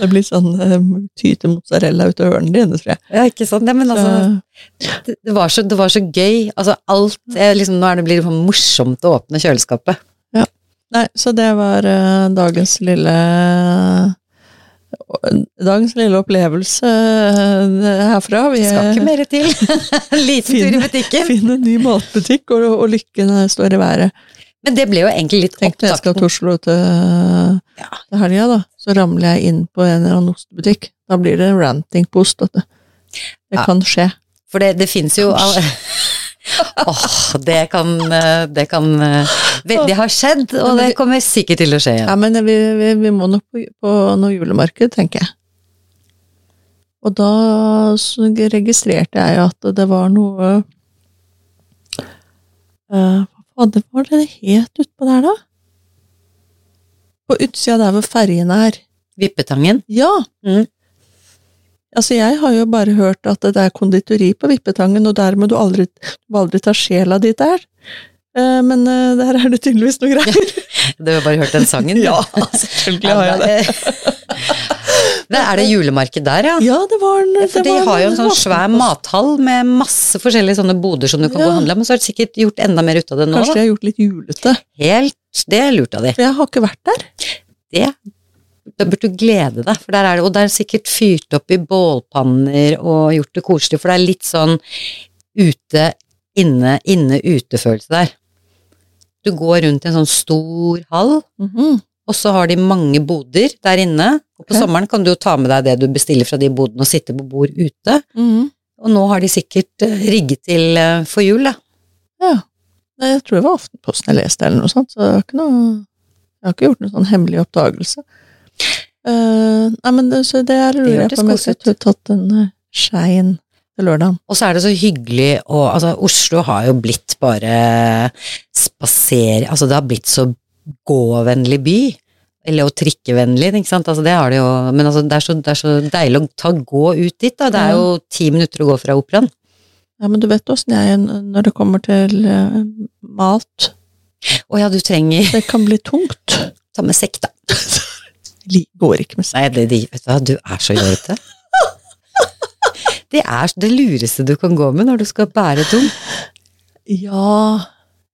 Speaker 2: det blir sånn eh, tyte mozzarella ut av ørene dine, tror jeg.
Speaker 1: Ja, ikke sant? Nei, men altså,
Speaker 2: Så-
Speaker 1: det, det, var så, det var så gøy. Altså alt, jeg, liksom, nå er det blir det sånn morsomt å åpne kjøleskapet.
Speaker 2: Nei, så det var eh, dagens lille eh, Dagens lille opplevelse eh, herfra. Vi
Speaker 1: Skal ikke mer til. En liten tur i
Speaker 2: Fin-
Speaker 1: butikken.
Speaker 2: finner en ny matbutikk, og, og lykken eh, står i været.
Speaker 1: Men det ble jo egentlig litt
Speaker 2: Tenk når jeg skal
Speaker 1: opptakten.
Speaker 2: til Oslo til,
Speaker 1: Ja.
Speaker 2: til helga, da. Så ramler jeg inn på en eller annen ostebutikk. Da blir det ranting på ost. Dette. Det
Speaker 1: Ja.
Speaker 2: kan skje.
Speaker 1: For det, det fins jo all... Åh, det kan eh, Det kan eh, Veldig har skjedd, og det kommer sikkert til å skje
Speaker 2: Ja,
Speaker 1: igjen.
Speaker 2: men vi, vi, vi må nok på, på noe julemarked, tenker jeg. Og da så registrerte jeg at det var noe eh, Hva faen, det var det det het utpå der, da? På utsida der hvor ferjen er.
Speaker 1: Vippetangen.
Speaker 2: Ja!
Speaker 1: Mm.
Speaker 2: Altså, jeg har jo bare hørt at det er konditori på Vippetangen, og der må du aldri, du må aldri ta sjela di der. Eh, men eh, der er det tydeligvis noe greier.
Speaker 1: Du har bare hørt den sangen? du.
Speaker 2: selvfølgelig
Speaker 1: Det er det julemarked der, ja?
Speaker 2: Ja, det var en
Speaker 1: For
Speaker 2: det
Speaker 1: de
Speaker 2: var
Speaker 1: har jo
Speaker 2: en
Speaker 1: en sånn svær
Speaker 2: matpost.
Speaker 1: mathall med masse forskjellige sånne boder som du kan gå og
Speaker 2: Ja.
Speaker 1: handle, men så har de sikkert gjort enda mer ut av det nå. Da.
Speaker 2: Kanskje de har gjort litt julete.
Speaker 1: Helt Det er lurt av de.
Speaker 2: For jeg har ikke vært der.
Speaker 1: Det da burde du glede deg, for der er det, og det er sikkert fyrt opp i bålpanner og gjort det koselig, for det er litt sånn ute, inne, inne, ute-følelse der. Du går rundt i en sånn stor hall, og så har de mange boder der inne. Og på
Speaker 2: Ok.
Speaker 1: sommeren kan du jo ta med deg det du bestiller fra de bodene og sitte på bord ute. Og nå har de sikkert eh, rigget til eh, for jul, da.
Speaker 2: Ja. Nei, jeg tror det var Aftenposten jeg leste, eller noe sånt, så det var ikke noe Jeg har ikke gjort noen sånn hemmelig oppdagelse. Eh, nei, men det, så det er lurer jeg
Speaker 1: hørtes
Speaker 2: på om jeg
Speaker 1: koselig ut.
Speaker 2: skulle tatt en uh, skein til lørdagen.
Speaker 1: Og så er det så hyggelig å Altså, Oslo har jo blitt bare spaser... Altså, det har blitt så gåvennlig by. Eller og trikkevennlig, ikke sant. Altså, det har det jo Men altså, det er så, det er så deilig å ta gå ut dit, da. Det er jo ti minutter å gå fra operaen.
Speaker 2: Ja, men du vet åssen jeg er når det kommer til eh, mat.
Speaker 1: Å ja, du trenger
Speaker 2: Det kan bli tungt.
Speaker 1: Ta med sekk, da.
Speaker 2: Det går ikke med seg.
Speaker 1: Nei, det, det, vet du hva, du er så jålete. Det er det lureste du kan gå med når du skal bære tungt.
Speaker 2: Ja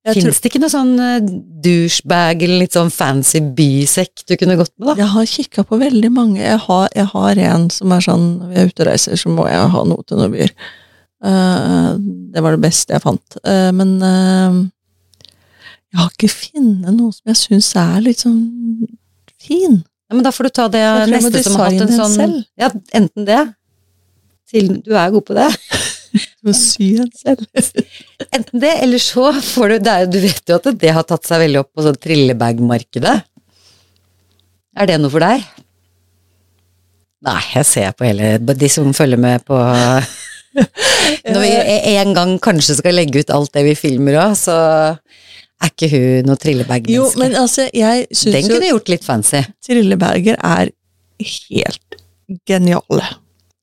Speaker 2: Jeg tror-
Speaker 1: Fins det ikke noe sånn eh, douchebag eller litt sånn fancy bysekk du kunne gått med, da?
Speaker 2: Jeg har kikka på veldig mange. Jeg har, jeg har en som er sånn Når vi er ute og reiser, så må jeg ha noe til noen byer. Eh, det var det beste jeg fant. Eh, men eh, jeg har ikke funnet noe som jeg syns er litt sånn fin.
Speaker 1: Ja, men da får du ta det
Speaker 2: Jeg tror jeg må
Speaker 1: neste som har hatt en
Speaker 2: designe
Speaker 1: sånn
Speaker 2: den selv.
Speaker 1: Ja, enten det til Du er god på det.
Speaker 2: Du må sy en selv.
Speaker 1: Enten det, eller så får du det er, jo- Du vet jo at det har tatt seg veldig opp på sånn trillebag-markedet. Er det noe for deg? Nei, jeg ser på hele De som følger med på Når vi e- en gang kanskje skal legge ut alt det vi filmer òg, så er ikke hun noe
Speaker 2: Jo,
Speaker 1: trillebag-menneske.
Speaker 2: men altså, jeg
Speaker 1: Den
Speaker 2: syns jo
Speaker 1: kunne gjort litt fancy.
Speaker 2: trilleberger er helt geniale.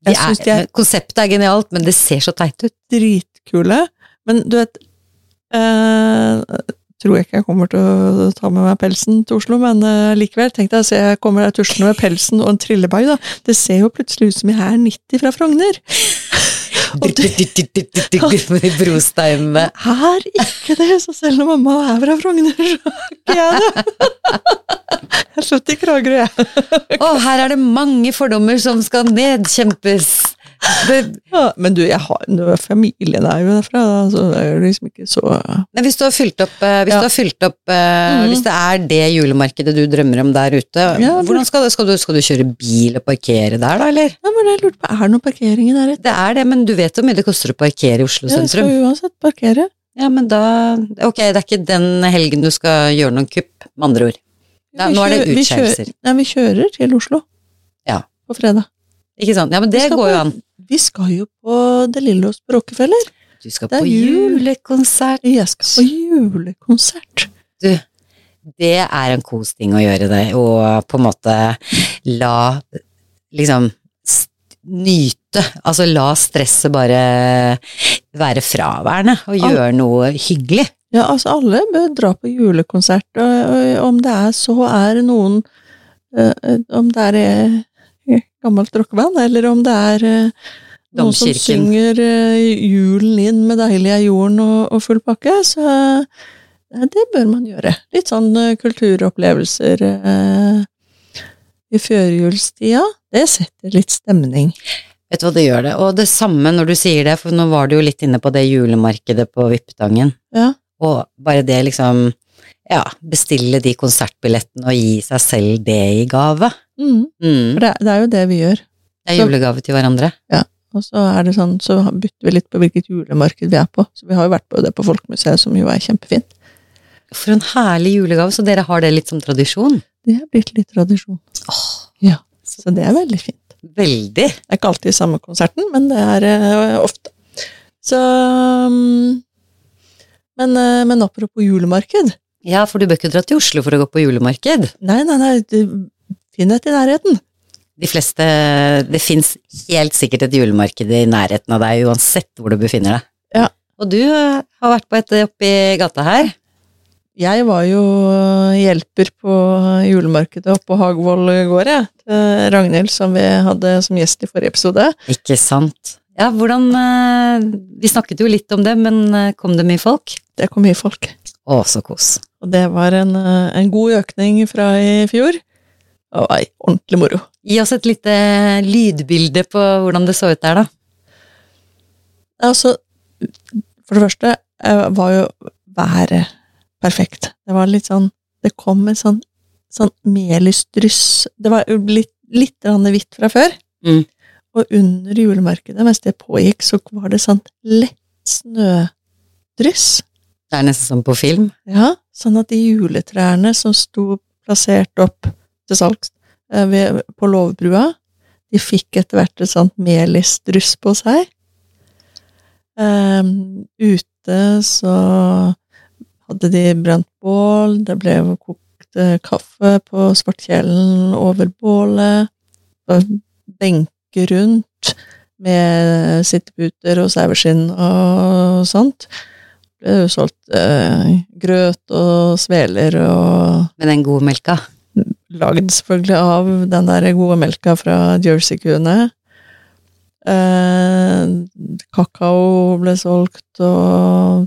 Speaker 1: De
Speaker 2: Jeg syns de er
Speaker 1: er, konseptet er genialt, men det ser så teit ut.
Speaker 2: dritkule. Men du vet eh, Tror jeg ikke jeg kommer til å ta med meg pelsen til Oslo, men eh, likevel. Tenk deg, så jeg kommer der tuslende med pelsen og en trillebag, da. Det ser jo plutselig ut som jeg er 90 fra Frogner. Og det
Speaker 1: Med de brosteimene.
Speaker 2: er ikke det, så selv om mamma er fra Frogner, så er ikke jeg det. Jeg er født i Kragerø, jeg.
Speaker 1: Å, her er det mange fordommer som skal nedkjempes. Det,
Speaker 2: Ja, men du, jeg har, nå, familien er jo derfra, da, så det er jo liksom ikke så
Speaker 1: men hvis du har fylt opp, eh, hvis,
Speaker 2: Ja.
Speaker 1: du har fylt opp eh,
Speaker 2: Mhm.
Speaker 1: hvis det er det julemarkedet du drømmer om der ute,
Speaker 2: Ja, det-
Speaker 1: hvordan skal, det, skal, du, skal du kjøre bil og parkere der, da, eller?
Speaker 2: Nei, men jeg lurte på, Er det noe parkering i nærheten?
Speaker 1: Det er det, men du vet hvor mye det koster å parkere i Oslo
Speaker 2: Jeg
Speaker 1: sentrum.
Speaker 2: skal jo uansett parkere.
Speaker 1: Ja, men da Ok, det er ikke den helgen du skal gjøre noen kupp, med andre ord. Da,
Speaker 2: Vi
Speaker 1: nå er det
Speaker 2: kjører- vi kjører-
Speaker 1: utskeielser.
Speaker 2: Nei, vi kjører til Oslo.
Speaker 1: Ja.
Speaker 2: På fredag.
Speaker 1: Ikke sant? Ja, men
Speaker 2: Vi
Speaker 1: det
Speaker 2: skal
Speaker 1: går
Speaker 2: på-
Speaker 1: jo an.
Speaker 2: Vi skal jo på De Lillos på Rockefeller.
Speaker 1: Du skal
Speaker 2: Det
Speaker 1: på
Speaker 2: er jul.
Speaker 1: julekonsert.
Speaker 2: Jeg skal på julekonsert.
Speaker 1: det er en kos ting å gjøre det, og på en måte la liksom s- nyte, altså la stresset bare være fraværende, og
Speaker 2: Ja.
Speaker 1: gjøre noe hyggelig.
Speaker 2: Ja, altså alle bør dra på julekonsert, og, og om det er så er noen eh, eh, Om det er eh, gammelt rockeband, eller om det er eh, noen som
Speaker 1: Domkirken.
Speaker 2: synger eh, julen inn med deilig er jorden og, og full pakke, så eh, det bør man gjøre. Litt sånn eh, kulturopplevelser eh, i førjulstida. Det setter litt stemning.
Speaker 1: Vet du hva det gjør det? Og det samme når du sier det, for nå var du jo litt inne på det julemarkedet på Vippetangen,
Speaker 2: Ja.
Speaker 1: og bare det liksom, ja, bestille de konsertbillettene og gi seg selv det i gave.
Speaker 2: Mm.
Speaker 1: Mm.
Speaker 2: For det, det er jo det vi gjør.
Speaker 1: Det er julegave til hverandre.
Speaker 2: Og så er det sånn, så bytter vi litt på hvilket julemarked vi er på. Så vi har jo vært på det på Folkemuseet, som jo er kjempefint.
Speaker 1: For en herlig julegave, så dere har det litt som tradisjon.
Speaker 2: Det er blitt litt tradisjon. Ja, så det er veldig fint.
Speaker 1: Veldig.
Speaker 2: Det er ikke alltid samme konserten, men det er eh, ofte. Så mm, men, eh, men apropos julemarked
Speaker 1: Ja, for du bør ikke dra til Oslo for å gå på julemarked.
Speaker 2: Nei, nei, nei, du- finn et i nærheten.
Speaker 1: De fleste, Det fins helt sikkert et julemarked i nærheten av deg, uansett hvor du befinner deg.
Speaker 2: Ja.
Speaker 1: Og du eh, har vært på et oppi gata her.
Speaker 2: Jeg var jo eh, hjelper på julemarkedet oppe på Hagvoll gård, jeg. til Ragnhild, som vi hadde som gjest i forrige episode.
Speaker 1: Ikke sant? Ja, hvordan eh, Vi snakket jo litt om det, men eh, kom det mye folk?
Speaker 2: Det kom mye folk.
Speaker 1: Å, så kos.
Speaker 2: Og det var en, eh, en god økning fra i fjor. Det var ordentlig moro.
Speaker 1: Gi oss et lite eh, lydbilde på hvordan det så ut der, da.
Speaker 2: Altså, for det første eh, var jo været perfekt. Det var litt sånn Det kom en sånn, sånn melisdryss Det var jo litt, litt grann hvitt fra før.
Speaker 1: Mm.
Speaker 2: Og under julemarkedet, mens det pågikk, så var det sånn lett snødryss.
Speaker 1: Det er nesten som på film.
Speaker 2: Ja, sånn at de juletrærne som sto plassert opp til salgs eh, ved- på låvbrua, de fikk etter hvert et sånt melisdryss på seg. Ehm, ute så hadde de brent bål, det ble kokt eh, kaffe på svartkjelen over bålet, og benker rundt med sitteputer og saueskinn og sånt ble jo solgt eh, grøt og sveler og
Speaker 1: Med den gode melka.
Speaker 2: lagd selvfølgelig av den der gode melka fra Jersey-kuene. Eh, kakao ble solgt og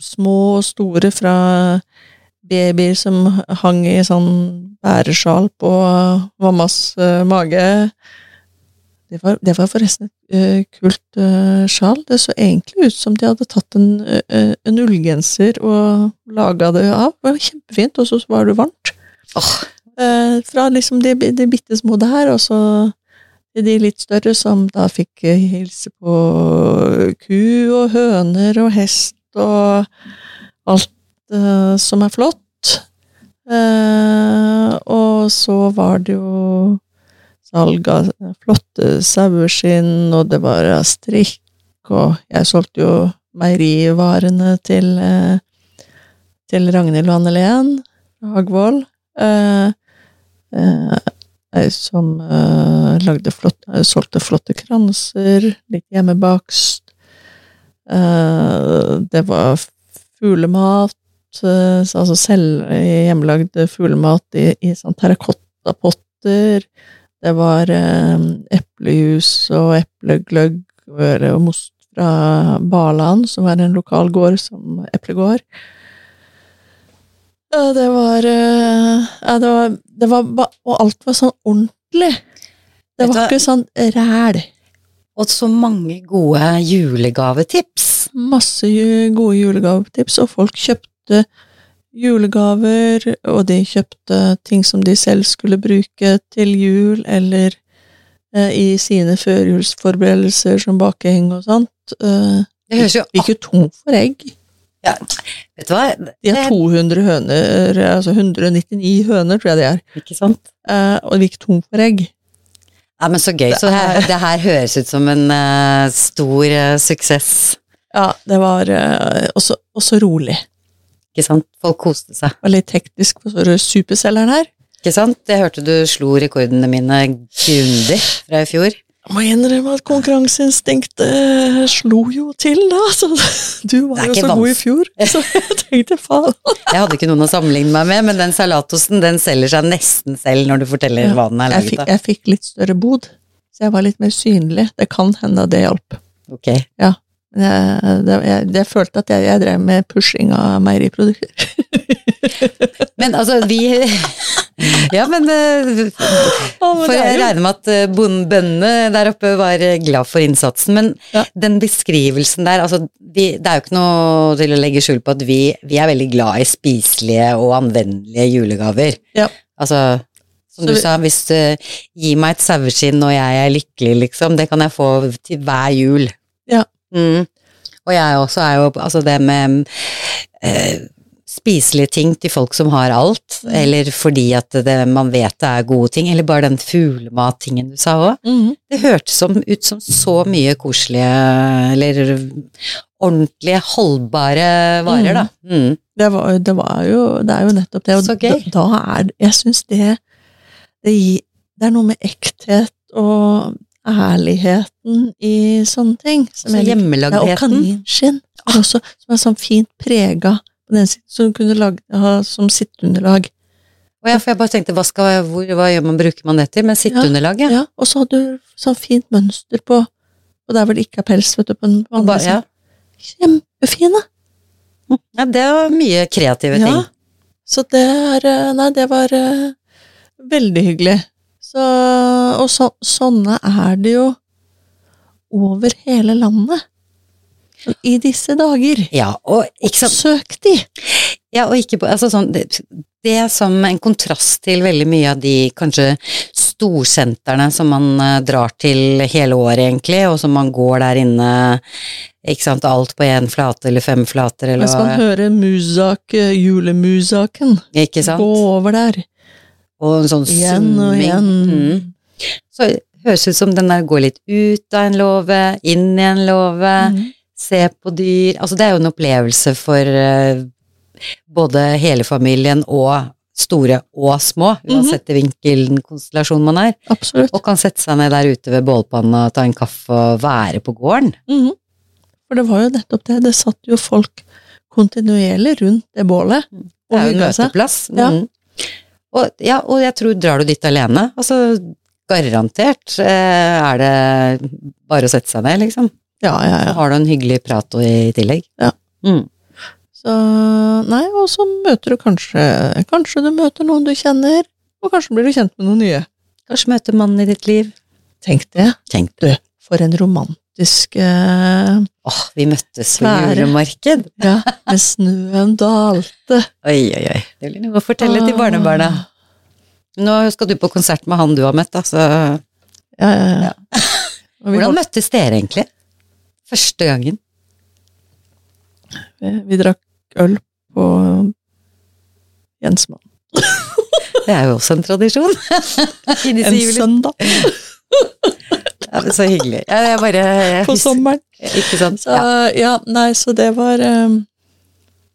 Speaker 2: små og store fra babyer som hang i sånn bæresjal på mammas eh, mage. Det var, det var forresten et eh, kult eh, sjal. Det så egentlig ut som de hadde tatt en, eh, en ullgenser og laga det av. Det var kjempefint, og så var det varmt.
Speaker 1: Åh,
Speaker 2: Eh, fra liksom de, de bitte små der, og så til de litt større som da fikk eh, hilse på ku og høner og hest og alt eh, som er flott. Eh, og så var det jo salg av flotte saueskinn, og det var eh, strikk, og jeg solgte jo meierivarene til, eh, til Ragnhild og Annelén fra Hagvold. Eh, eh, ei som eh, lagde flott, eh, solgte flotte kranser, litt hjemmebakst. Eh, det var fuglemat, eh, altså selv hjemmelagd fuglemat i, i sånn terrakottapotter. Det var eh, eplejus og eplegløgg og most fra Baland, som er en lokal gård som eplegård. Ja, det var eh, Ja, det var, det var ba- Og alt var sånn ordentlig. Det
Speaker 1: Vet du
Speaker 2: var
Speaker 1: hva?
Speaker 2: ikke sånn ræl.
Speaker 1: og så mange gode julegavetips.
Speaker 2: Masse ju- gode julegavetips, og folk kjøpte julegaver, og de kjøpte ting som de selv skulle bruke til jul, eller eh, i sine førjulsforberedelser som baking og sånt. Eh,
Speaker 1: Det høres jo
Speaker 2: gikk jo tom for egg.
Speaker 1: ja, Vet du hva?
Speaker 2: De har 200 høner, altså 199 høner, tror jeg de er.
Speaker 1: Ikke sant?
Speaker 2: Eh, og de gikk tom for egg.
Speaker 1: Ja, men så gøy.
Speaker 2: Det
Speaker 1: Så det her,
Speaker 2: er-
Speaker 1: det her høres ut som en eh, stor eh, suksess.
Speaker 2: Ja, det var eh, også, også rolig.
Speaker 1: Ikke sant? Folk koste seg.
Speaker 2: Og litt hektisk for superselgeren her.
Speaker 1: Ikke sant? Jeg hørte du slo rekordene mine grundig fra i fjor.
Speaker 2: Jeg må innrømme at konkurranseinstinktet slo jo til, da. Så du
Speaker 1: Det
Speaker 2: var
Speaker 1: er
Speaker 2: jo
Speaker 1: ikke
Speaker 2: så god i fjor, så jeg tenkte faen.
Speaker 1: Jeg hadde ikke noen å sammenligne meg med, men den salatosten den selger seg nesten selv når du forteller
Speaker 2: Ja,
Speaker 1: hva den er
Speaker 2: Jeg
Speaker 1: laget
Speaker 2: fikk,
Speaker 1: av.
Speaker 2: jeg fikk litt større bod, så jeg var litt mer synlig. Det kan hende det hjalp.
Speaker 1: Ok,
Speaker 2: Men Jeg, det, jeg, jeg følte at jeg, jeg drev med pushing av meieriprodukter.
Speaker 1: Men altså, vi Ja, men eh, For jeg regner med at eh, bon- bøndene der oppe var eh, glad for innsatsen, men
Speaker 2: Ja.
Speaker 1: den beskrivelsen der, altså vi, det er jo ikke noe til å legge skjul på at vi, vi er veldig glad i spiselige og anvendelige julegaver.
Speaker 2: Ja.
Speaker 1: Altså, som
Speaker 2: Så
Speaker 1: du
Speaker 2: vi-
Speaker 1: sa, hvis du gir meg et saueskinn og jeg er lykkelig, liksom, det kan jeg få til hver jul.
Speaker 2: Ja.
Speaker 1: Mm. Og jeg også er jo, altså det med eh, spiselige ting til folk som har alt,
Speaker 2: Mm.
Speaker 1: eller fordi at det, man vet det er gode ting, eller bare den fuglemattingen du sa òg.
Speaker 2: Mhm.
Speaker 1: Det hørtes som, ut som så mye koselige, eller ordentlige, holdbare varer, da. Mm.
Speaker 2: Det, var, det var jo Det er jo nettopp det. Og
Speaker 1: Så gøy.
Speaker 2: Da, da er det- Jeg syns det det, gi- det er noe med ekthet og ærligheten i sånne ting. som
Speaker 1: Så
Speaker 2: jeg liker. Ja, og
Speaker 1: hjemmelagheten.
Speaker 2: kaninskinn. er Også, som er sånn fint prega på den siden, som du kunne lage, ha som sitteunderlag.
Speaker 1: Og ja, for jeg bare tenkte, hva, skal, hvor, hva gjør man, bruker man det til? Men sitteunderlaget?
Speaker 2: Ja, og så hadde du sånn fint mønster på Og der hvor det ikke er pels, vet du. På den på andre
Speaker 1: Bare, ja.
Speaker 2: siden. Kjempefine!
Speaker 1: ja, det var mye kreative ting.
Speaker 2: Ja. Så det er eh, Nei, det var eh, veldig hyggelig. Så, og så, sånne er det jo over hele landet. I disse dager.
Speaker 1: Ja, og ikke sant
Speaker 2: Søk de!
Speaker 1: Ja, og ikke på, altså sånn, det, det som en kontrast til veldig mye av de kanskje storsentrene som man eh, drar til hele året egentlig, og som man går der inne, ikke sant, alt på én flate eller fem flater eller
Speaker 2: Mens man
Speaker 1: hva,
Speaker 2: hører Musak, eh, julemusaken,
Speaker 1: ikke sant,
Speaker 2: gå over der.
Speaker 1: og en sånn
Speaker 2: Igjen og
Speaker 1: summing.
Speaker 2: igjen.
Speaker 1: Mm. Så høres ut som den der går litt ut av en låve, inn i en låve,
Speaker 2: Mhm.
Speaker 1: se på dyr, altså det er jo en opplevelse for eh, både hele familien og store og små, uansett i
Speaker 2: Mhm.
Speaker 1: vinkel, konstellasjon man er,
Speaker 2: Absolutt.
Speaker 1: og kan sette seg ned der ute ved bålpanna, ta en kaffe og være på gården.
Speaker 2: Mhm. For det var jo nettopp det. Det satt jo folk kontinuerlig rundt det bålet.
Speaker 1: Mm. Det er jo en
Speaker 2: hygget seg.
Speaker 1: møteplass.
Speaker 2: Ja.
Speaker 1: Mm. Og, ja, og jeg tror drar du dit alene, altså garantert eh, er det bare å sette seg ned, liksom.
Speaker 2: Ja, ja, ja.
Speaker 1: Har du en hyggelig prat og i tillegg.
Speaker 2: Ja.
Speaker 1: Mm.
Speaker 2: Så nei, og så møter du kanskje Kanskje du møter noen du kjenner, og kanskje blir du kjent med noen nye.
Speaker 1: Kanskje møte mannen i ditt liv.
Speaker 2: Tenk det.
Speaker 1: Tenk
Speaker 2: Du, for en romantisk eh,
Speaker 1: Åh, vi møttes på
Speaker 2: Være.
Speaker 1: julemarked.
Speaker 2: Ja, med snøen dalte.
Speaker 1: Oi, oi, oi. Det blir noe å fortelle til barnebarna. Nå skal du på konsert med han du har møtt, da, så
Speaker 2: Ja, ja, ja. Og vi,
Speaker 1: Hvordan møttes dere egentlig? Første gangen?
Speaker 2: vi, vi drakk øl på Jensmann.
Speaker 1: Det er jo også en tradisjon. I disse
Speaker 2: En
Speaker 1: juli-
Speaker 2: søndag
Speaker 1: Ja, men så hyggelig. Ja, jeg bare jeg
Speaker 2: på
Speaker 1: hus-
Speaker 2: sommeren.
Speaker 1: Ikke sant?
Speaker 2: Så,
Speaker 1: sånn- Ja.
Speaker 2: ja. nei, så det var um,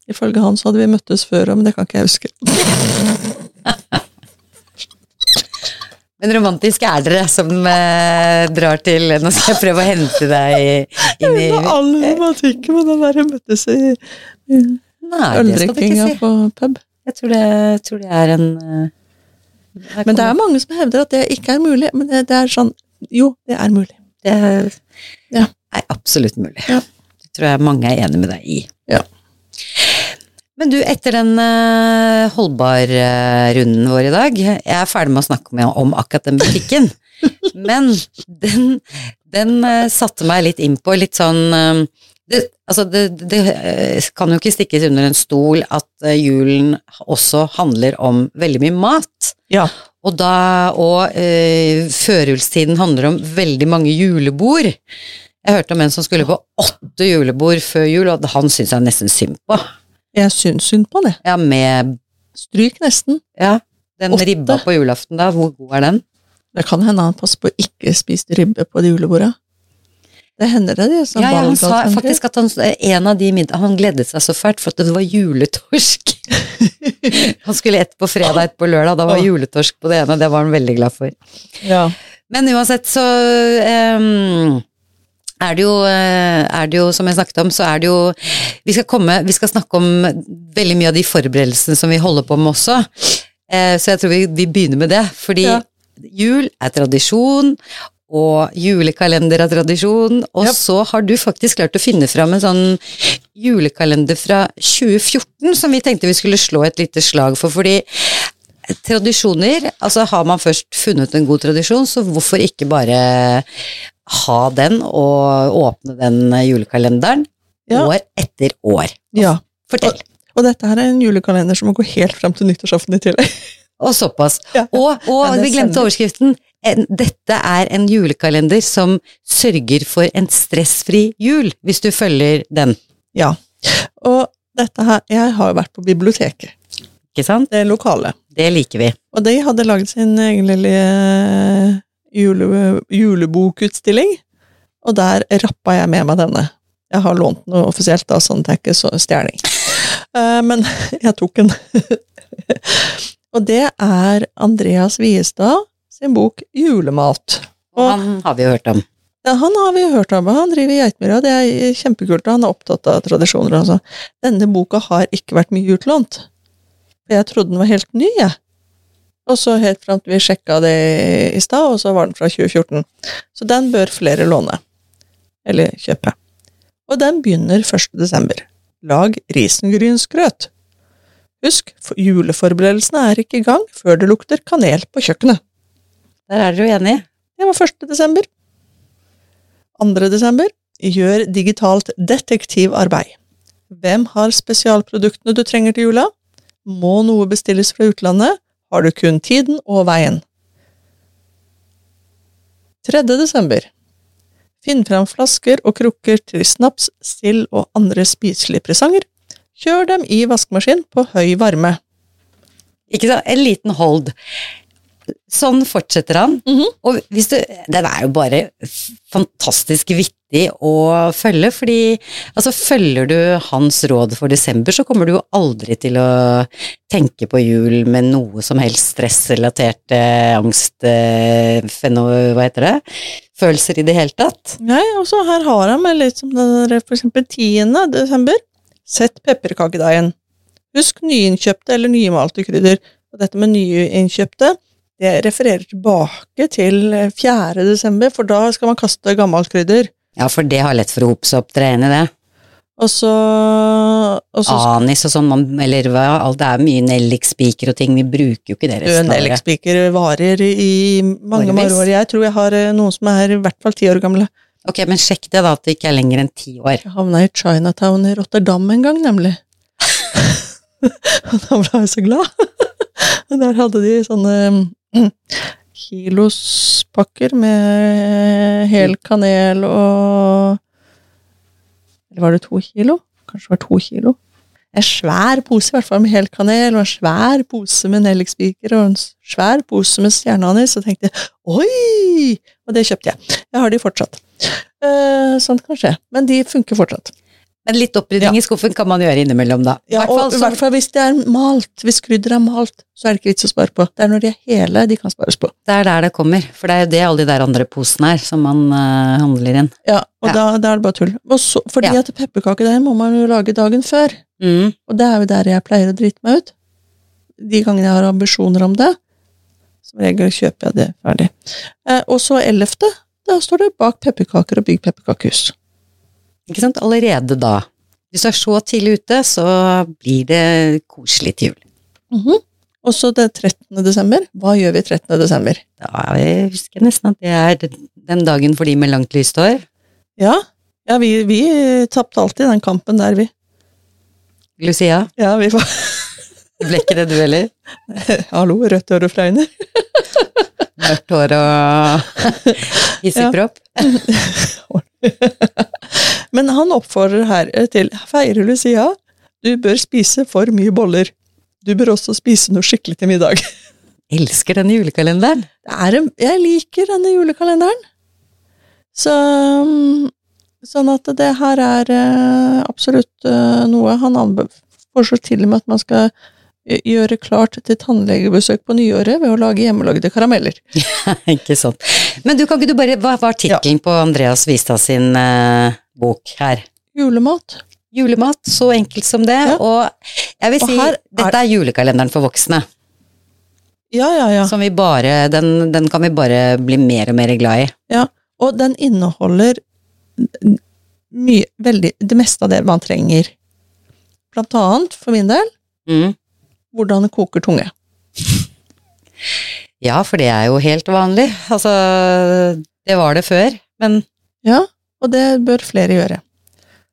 Speaker 2: Ifølge han så hadde vi møttes før, men det kan ikke jeg huske.
Speaker 1: Men romantisk er dere som eh, drar til Nå skal jeg prøve å hente deg inn i
Speaker 2: Med all romantikken med den der møttes i, i
Speaker 1: Nei, det skal du ikke
Speaker 2: øldrikkinga
Speaker 1: si.
Speaker 2: på pub.
Speaker 1: Jeg tror det, jeg tror det er en eh, her
Speaker 2: Men det er
Speaker 1: kommer-
Speaker 2: mange som hevder at det ikke er mulig, men det, det er sånn Jo, det er mulig.
Speaker 1: Det er,
Speaker 2: Ja.
Speaker 1: er absolutt mulig.
Speaker 2: Ja.
Speaker 1: Det tror jeg mange er enig med deg i.
Speaker 2: Ja.
Speaker 1: Men du, etter den uh, holdbar-runden vår i dag Jeg er ferdig med å snakke om, om akkurat den butikken. Men den, den eh, satte meg litt inn på litt sånn eh, det, altså det, det eh, kan jo ikke stikkes under en stol at eh, julen også handler om veldig mye mat.
Speaker 2: Ja.
Speaker 1: Og, da, og eh, førjulstiden handler om veldig mange julebord. Jeg hørte om en som skulle på åtte julebord før jul, og han syns jeg nesten synd på.
Speaker 2: Jeg syns synd på det.
Speaker 1: Ja, med
Speaker 2: Stryk nesten.
Speaker 1: ja, den
Speaker 2: Åtte?
Speaker 1: ribba på julaften da, hvor god er den?
Speaker 2: Det kan hende han passer på å ikke spise ribbe på de juleborda. Det hender det, det. Som
Speaker 1: Ja, ja, han sa
Speaker 2: valgalternativ.
Speaker 1: faktisk at han, eh, en av de middag, han gledet seg så fælt for at det var juletorsk. han skulle ett på fredag, ett på lørdag, da var
Speaker 2: Åh.
Speaker 1: juletorsk på det ene, det var han veldig glad for.
Speaker 2: Ja.
Speaker 1: Men uansett så ehm, er det, jo, eh, er det jo, som jeg snakket om, så er det jo Vi skal, komme, vi skal snakke om veldig mye av de forberedelsene som vi holder på med også. Eh, så jeg tror vi, vi begynner med det. Fordi
Speaker 2: Ja.
Speaker 1: jul er tradisjon, og julekalender er tradisjon. Og
Speaker 2: Japp.
Speaker 1: så har du faktisk klart å finne fram en sånn julekalender fra 2014 som vi tenkte vi skulle slå et lite slag for. fordi Tradisjoner, altså har man først funnet en god tradisjon, så hvorfor ikke bare ha den og åpne den julekalenderen
Speaker 2: Ja.
Speaker 1: år etter år?
Speaker 2: ja.
Speaker 1: Fortell.
Speaker 2: Og dette her er en julekalender som må gå helt fram til nyttårsaften i tillegg.
Speaker 1: Og såpass.
Speaker 2: Ja.
Speaker 1: Og,
Speaker 2: Ja,
Speaker 1: og
Speaker 2: det
Speaker 1: vi glemte
Speaker 2: stemmer.
Speaker 1: overskriften. En, dette er en julekalender som sørger for en stressfri jul, hvis du følger den.
Speaker 2: Ja. Og dette her Jeg har jo vært på biblioteket,
Speaker 1: Ikke sant?
Speaker 2: det lokale.
Speaker 1: Det liker vi.
Speaker 2: Og de hadde lagd sin egen lille eh, jule, julebokutstilling, og der rappa jeg med meg denne. Jeg har lånt den offisielt, da, sånn at det er ikke så stjeling. Eh, Men jeg tok den. og det er Andreas Viestad sin bok 'Julemat'. Og-
Speaker 1: Han har vi jo hørt om.
Speaker 2: Ja, han har vi hørt om, og han driver i Geitmyra, det er kjempekult, og han er opptatt av tradisjoner. Altså. Denne boka har ikke vært mye utlånt. For jeg trodde den var helt ny, jeg. Og så helt fram til vi sjekka det i stad, og så var den fra 2014. Så den bør flere låne. Eller kjøpe. Og den begynner 1. desember. Lag risengrynsgrøt. Husk, for- juleforberedelsene er ikke i gang før det lukter kanel på kjøkkenet.
Speaker 1: Der er dere jo enige.
Speaker 2: Det var 1. desember. 2. desember gjør digitalt detektivarbeid. Hvem har spesialproduktene du trenger til jula? Må noe bestilles fra utlandet? Har du kun tiden og veien? 3. desember Finn fram flasker og krukker til snaps, sild og andre spiselige presanger. Kjør dem i vaskemaskin på høy varme.
Speaker 1: Ikke sant? En liten hold. Sånn fortsetter han.
Speaker 2: Mhm.
Speaker 1: Og hvis du, den er jo bare f- fantastisk vittig å følge, fordi altså, følger du hans råd for desember, så kommer du jo aldri til å tenke på jul med noe som helst stressrelaterte eh, angst... Eh, feno, hva heter det? Følelser i det hele tatt.
Speaker 2: Nei, og så her har han med litt som den der, for eksempel 10. desember. Sett pepperkakedeigen. Husk nyinnkjøpte eller nymalte krydder. Og dette med nyinnkjøpte, det refererer tilbake til eh, 4. desember, for da skal man kaste gammelt krydder.
Speaker 1: Ja, for det har lett for å hope seg opp, dere er enig i det?
Speaker 2: Og så, og så
Speaker 1: Anis og sånn, man, eller hva, alt, det er mye nellikspiker og ting, vi bruker jo ikke det
Speaker 2: Død
Speaker 1: resten av året.
Speaker 2: nellikspiker varer i mange mange
Speaker 1: Årevis.
Speaker 2: år. Jeg tror jeg har eh, noen som er i hvert fall ti år gamle.
Speaker 1: Ok, men sjekk det da, at det ikke er lenger enn ti år.
Speaker 2: Jeg havna i Chinatown i Rotterdam en gang, nemlig. Og da ble jeg så glad. Og der hadde de sånne mm, kilospakker med hel kanel og Eller var det to kilo? Kanskje det var to kilo. En svær pose i hvert fall med hel kanel, og en svær pose med nellikspiker og en s- svær pose med stjerneanis. Og tenkte jeg, oi! Og det kjøpte jeg. Jeg har de fortsatt. Eh, sånt kan skje. Men de funker fortsatt.
Speaker 1: Men litt opprydning i skuffen kan man gjøre innimellom, da. I
Speaker 2: Ja,
Speaker 1: hvert fall
Speaker 2: og i
Speaker 1: så-
Speaker 2: hvert fall hvis det er malt, hvis krydder er malt, så er det ikke vits å spare på. Det er når de er hele de kan spares på.
Speaker 1: Det er der det kommer, for det er jo det alle de der andre posene er, som man eh, handler inn.
Speaker 2: Ja, Og
Speaker 1: Ja.
Speaker 2: Da, da er det bare tull. Og så, fordi
Speaker 1: Ja.
Speaker 2: at pepperkakedeig må man jo lage dagen før,
Speaker 1: Mm.
Speaker 2: og det er jo der jeg pleier å drite meg ut. De gangene jeg har ambisjoner om det, som regel kjøper jeg det ferdig. Eh, og så ellevte, da står det bak pepperkaker og bygg pepperkakehus.
Speaker 1: Ikke sant? Allerede da. Hvis du er så tidlig ute, så blir det koselig til jul.
Speaker 2: Mhm. Og så det 13. desember. Hva gjør vi 13. desember?
Speaker 1: Da er vi- husker jeg nesten at det er den dagen for de med langt lyst hår.
Speaker 2: Ja, ja vi, vi tapte alltid den kampen der, vi.
Speaker 1: Lucia,
Speaker 2: Ja, vi var
Speaker 1: det ble ikke det du heller?
Speaker 2: Hallo, rødt øre fra øynene.
Speaker 1: Mørkt hår og hissig
Speaker 2: Ja.
Speaker 1: kropp.
Speaker 2: Men han oppfordrer her eh, til feirer Lucia. Du bør spise for mye boller. Du bør også spise noe skikkelig til middag.
Speaker 1: Elsker den julekalenderen.
Speaker 2: Det er en, jeg liker denne julekalenderen. Så, mm, sånn at det her er eh, absolutt eh, noe han anbe- foreslår til og med at man skal eh, gjøre klart til tannlegebesøk på nyåret ved å lage hjemmelagde karameller.
Speaker 1: ikke sant. Men du, kan ikke du bare, hva var tittelen på Andreas Vistad sin eh, bok her?
Speaker 2: Julemat.
Speaker 1: Julemat, så enkelt som det.
Speaker 2: Ja.
Speaker 1: Og jeg vil
Speaker 2: Og
Speaker 1: si,
Speaker 2: her er-
Speaker 1: dette er julekalenderen for voksne.
Speaker 2: Ja, ja, ja.
Speaker 1: Som vi bare, den, den kan vi bare bli mer og mer glad i.
Speaker 2: Og den inneholder mye, veldig, det meste av det man trenger. Blant annet, for min del,
Speaker 1: Mm.
Speaker 2: hvordan det koker tunge.
Speaker 1: Ja, for det er jo helt vanlig. Altså, det var det før. Men
Speaker 2: Ja, og det bør flere gjøre.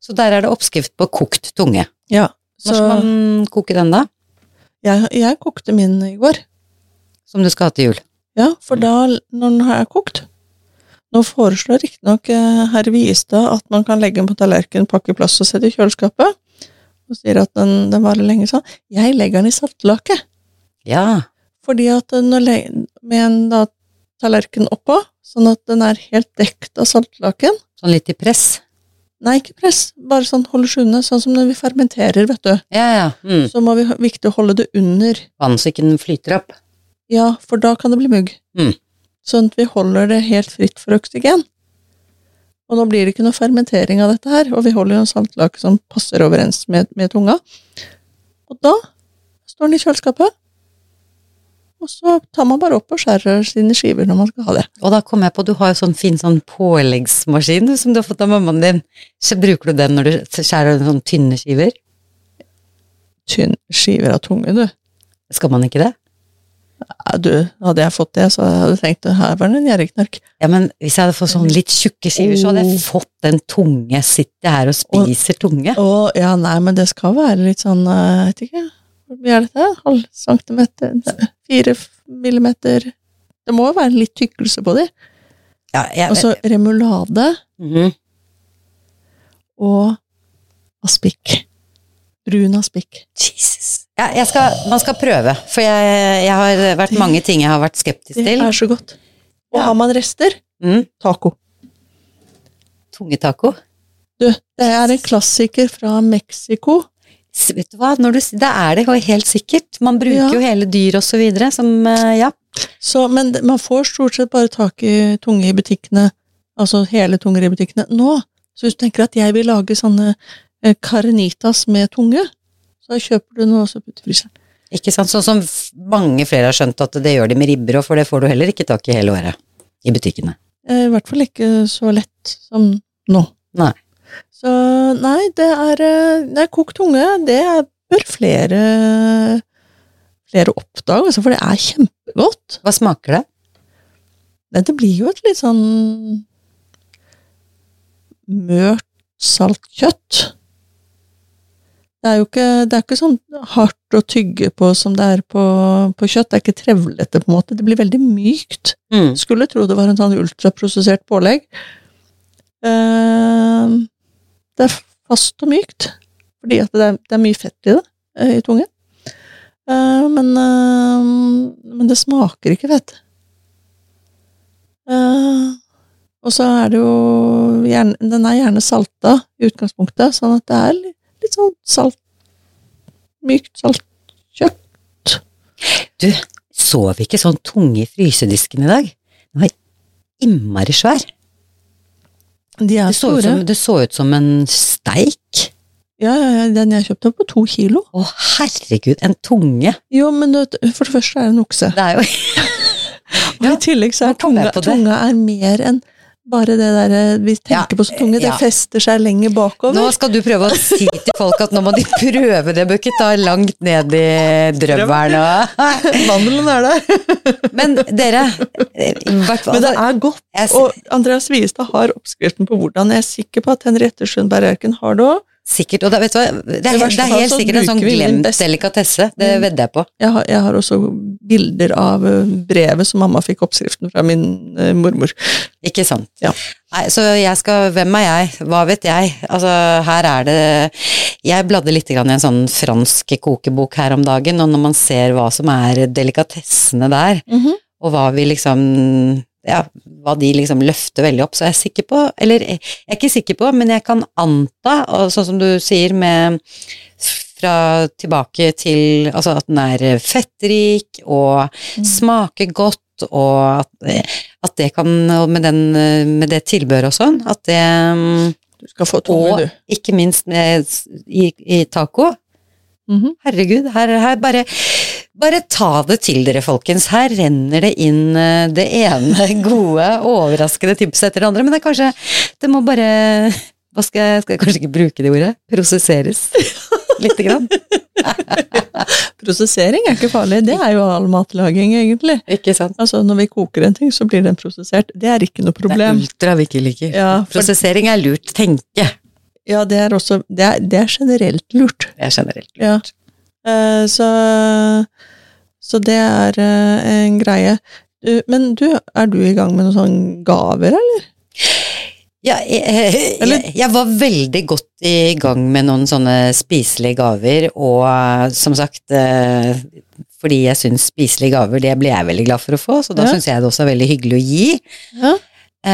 Speaker 1: så der er det oppskrift på kokt tunge.
Speaker 2: Ja,
Speaker 1: Når
Speaker 2: så
Speaker 1: skal man koke den da?
Speaker 2: jeg, jeg kokte min i går.
Speaker 1: Som du skal ha til jul.
Speaker 2: Ja, for da, når den er kokt Nå foreslår riktignok eh, herr Viestad at man kan legge den på tallerkenen, pakke i plast og sette i kjøleskapet. Og sier at den, den varer lenge sånn. Jeg legger den i saltlake.
Speaker 1: Ja.
Speaker 2: Fordi at når le- med en da, tallerken oppå, sånn at den er helt dekt av saltlaken
Speaker 1: Sånn litt i press.
Speaker 2: Nei, ikke press, bare sånn holde skjulende, sånn som når vi fermenterer, vet du.
Speaker 1: Ja, ja. Mm.
Speaker 2: Så må vi ha- viktig å holde det under.
Speaker 1: Vann så ikke den flyter opp.
Speaker 2: Ja, for da kan det bli mugg.
Speaker 1: Mm.
Speaker 2: Sånn at vi holder det helt fritt for oksygen. Og nå blir det ikke noe fermentering av dette her, og vi holder jo en saltlake som passer overens med, med tunga. Og da står den i kjøleskapet, og så tar man bare opp og skjærer sine skiver når man skal ha det.
Speaker 1: Og da kom jeg på, du har jo sånn fin sånn påleggsmaskin du, som du har fått av mammaen din. Så bruker du den når du skjærer sånn tynne skiver?
Speaker 2: tynn skiver av tunge, du.
Speaker 1: Skal man ikke det?
Speaker 2: Ja, du, hadde jeg fått det, så hadde jeg tenkt her var det en gjerrigknark.
Speaker 1: Ja, men hvis jeg hadde fått sånn litt tjukke skiver, så
Speaker 2: Oh.
Speaker 1: hadde jeg fått den tunge. Sitter jeg her og spiser tunge?
Speaker 2: Å, ja, nei, men det skal være litt sånn, eh, jeg vet ikke, hvor mye er dette? Halv centimeter? Nei, Fire f- millimeter? Det må jo være litt tykkelse på de.
Speaker 1: Ja, jeg,
Speaker 2: Og så remulade
Speaker 1: Mhm.
Speaker 2: og aspik. Brun aspik.
Speaker 1: Jesus. Ja, jeg skal, man skal prøve, for jeg, jeg har vært mange ting jeg har vært skeptisk
Speaker 2: Det
Speaker 1: til.
Speaker 2: er så godt. Og
Speaker 1: Ja.
Speaker 2: har man rester?
Speaker 1: Mm,
Speaker 2: Taco.
Speaker 1: tungetaco.
Speaker 2: Du, det er en klassiker fra Mexico.
Speaker 1: S- Vet du hva, Når du, s- det er det jo helt sikkert. Man bruker
Speaker 2: Ja.
Speaker 1: jo hele dyr og så videre som eh, Ja.
Speaker 2: Så, men det- man får stort sett bare tak i tunge i butikkene, altså hele tunger i butikkene, nå. Så hvis du tenker at jeg vil lage sånne eh, carnitas med tunge, så kjøper du noe og så putter du i fryseren.
Speaker 1: Ikke sant? Sånn som f- mange flere har skjønt at det gjør de med ribber, og for det får du heller ikke tak i hele året i butikkene.
Speaker 2: Eh, I hvert fall ikke så lett som nå.
Speaker 1: Nei.
Speaker 2: Så nei, det er, eh, det er kokt tunge. Det er, bør flere, flere oppdage, altså, for det er kjempegodt.
Speaker 1: Hva smaker det?
Speaker 2: Nei, det blir jo et litt sånn mørt, salt kjøtt. Det er jo ikke, det er ikke sånn hardt å tygge på som det er på, på kjøtt. Det er ikke trevlete, på en måte. Det blir veldig mykt.
Speaker 1: Mm.
Speaker 2: Skulle tro det var en sånn ultraprosessert pålegg. Eh, det er fast og mykt, fordi at det er, det er mye fett i det, eh, i tungen. Eh, men, eh, men det smaker ikke fett. Eh, og så er det jo gjerne, Den er gjerne salta i utgangspunktet, sånn at det er litt, litt sånn salt Mykt salt kjøtt.
Speaker 1: Så vi ikke sånn tunge i frysedisken i dag? Den var innmari svær.
Speaker 2: De er
Speaker 1: Det så, ut
Speaker 2: store.
Speaker 1: som, det så ut som en steik.
Speaker 2: Ja, ja, ja, den jeg kjøpte var på to kilo.
Speaker 1: Å, herregud, en tunge!
Speaker 2: Jo, men du vet, for det første er det en okse.
Speaker 1: Det er jo
Speaker 2: Og i tillegg så er
Speaker 1: nå kom jeg
Speaker 2: tunga,
Speaker 1: på det.
Speaker 2: tunga er mer enn bare det der eh, vi tenker på som tunge. Det
Speaker 1: ja.
Speaker 2: fester seg lenger bakover.
Speaker 1: Nå skal du prøve å si til folk at nå må de prøve det, bør ikke ta langt ned i drømmeren og
Speaker 2: Mandelen er der.
Speaker 1: Men dere, i hvert fall
Speaker 2: Men det
Speaker 1: altså,
Speaker 2: er godt.
Speaker 1: jeg er
Speaker 2: Og Andreas Wiestad har oppskriften på hvordan. Jeg er sikker på at Henriette Schönberg Erken har det òg.
Speaker 1: sikkert Og det, vet du hva, det
Speaker 2: I
Speaker 1: er,
Speaker 2: verste
Speaker 1: det er
Speaker 2: fall
Speaker 1: helt
Speaker 2: så
Speaker 1: sikkert en sånn
Speaker 2: bruker vi den
Speaker 1: glemt
Speaker 2: beste.
Speaker 1: delikatesse, det
Speaker 2: Mm.
Speaker 1: vedder jeg på.
Speaker 2: Jeg har, jeg har også bilder av eh, brevet som mamma fikk oppskriften fra min eh, mormor.
Speaker 1: Ikke sant.
Speaker 2: Ja.
Speaker 1: Nei, så jeg skal Hvem er jeg? Hva vet jeg? Altså, her er det Jeg bladde litt grann i en sånn fransk kokebok her om dagen, og når man ser hva som er delikatessene der,
Speaker 2: Mhm.
Speaker 1: og hva vi liksom ja, hva de liksom løfter veldig opp, så er jeg sikker på Eller jeg er ikke sikker på, men jeg kan anta, og sånn som du sier med fra tilbake til Altså at den er fettrik og
Speaker 2: Mm.
Speaker 1: smaker godt, og at at det kan, og med, den, eh, med det tilbehøret og sånn, at det mm,
Speaker 2: Du skal få
Speaker 1: Og-
Speaker 2: tunge, du.
Speaker 1: Ikke minst med, s- i, i taco.
Speaker 2: Mhm.
Speaker 1: Herregud, her, her bare Bare ta det til dere, folkens. Her renner det inn eh, det ene gode, overraskende tipset etter det andre, men det er kanskje Det må bare hva skal, jeg, skal jeg kanskje ikke bruke det ordet? Prosesseres. Lite grann.
Speaker 2: Prosessering er ikke farlig. Det er jo all matlaging, egentlig.
Speaker 1: Ikke sant?
Speaker 2: Altså, Når vi koker en ting, så blir den prosessert. Det er ikke noe
Speaker 1: Det er
Speaker 2: problem.
Speaker 1: ultra vi ikke liker.
Speaker 2: Ja, for,
Speaker 1: Prosessering er lurt. Tenke.
Speaker 2: ja det er også det er, det er generelt lurt.
Speaker 1: Det er generelt lurt.
Speaker 2: Ja. Eh, så, så det er eh, en greie. Du, men du, er du i gang med noen sånne gaver, eller?
Speaker 1: Ja, jeg, jeg, jeg var veldig godt i gang med noen sånne spiselige gaver, og eh, som sagt eh, Fordi jeg syns spiselige gaver, det ble jeg veldig glad for å få, så da
Speaker 2: Ja.
Speaker 1: syns jeg det også er veldig hyggelig å gi.
Speaker 2: Ja.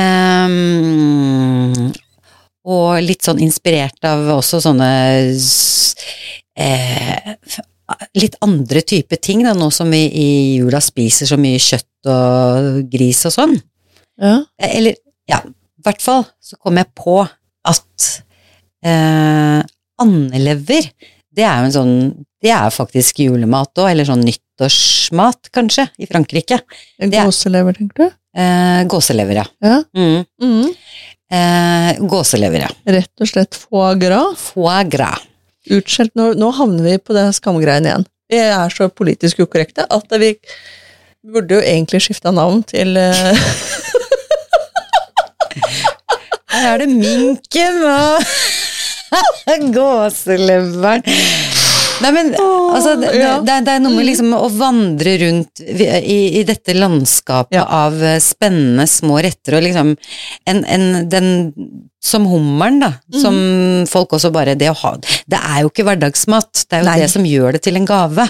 Speaker 1: Ehm, og litt sånn inspirert av også sånne s- eh, Litt andre typer ting, da, nå som vi i jula spiser så mye kjøtt og gris og sånn.
Speaker 2: Ja.
Speaker 1: Eh, Eller, ja, i hvert fall så kom jeg på at eh, andelever, det er jo en sånn Det er faktisk julemat òg, eller sånn nyttårsmat, kanskje, i Frankrike.
Speaker 2: En
Speaker 1: Det er-
Speaker 2: gåselever, tenker du?
Speaker 1: Eh, gåselever, ja.
Speaker 2: Ja.
Speaker 1: Mm. Eh, gåselever, ja.
Speaker 2: Rett og slett foie gras.
Speaker 1: Foie gras.
Speaker 2: Utskjelt. Nå, nå havner vi på den skamgreien igjen. Vi er så politisk ukorrekte at vi burde jo egentlig skifta navn til eh,
Speaker 1: Her er det minken og gåseleveren. Nei, men altså, det, det,
Speaker 2: Ja. Mm.
Speaker 1: det, er- det er noe med liksom å vandre rundt vi- i, i dette landskapet
Speaker 2: Ja.
Speaker 1: av eh, spennende små retter, og liksom en, en, den som hummeren, da, som
Speaker 2: Mhm.
Speaker 1: folk også bare Det å ha Det er jo ikke hverdagsmat, det er jo
Speaker 2: Nei.
Speaker 1: det som gjør det til en gave.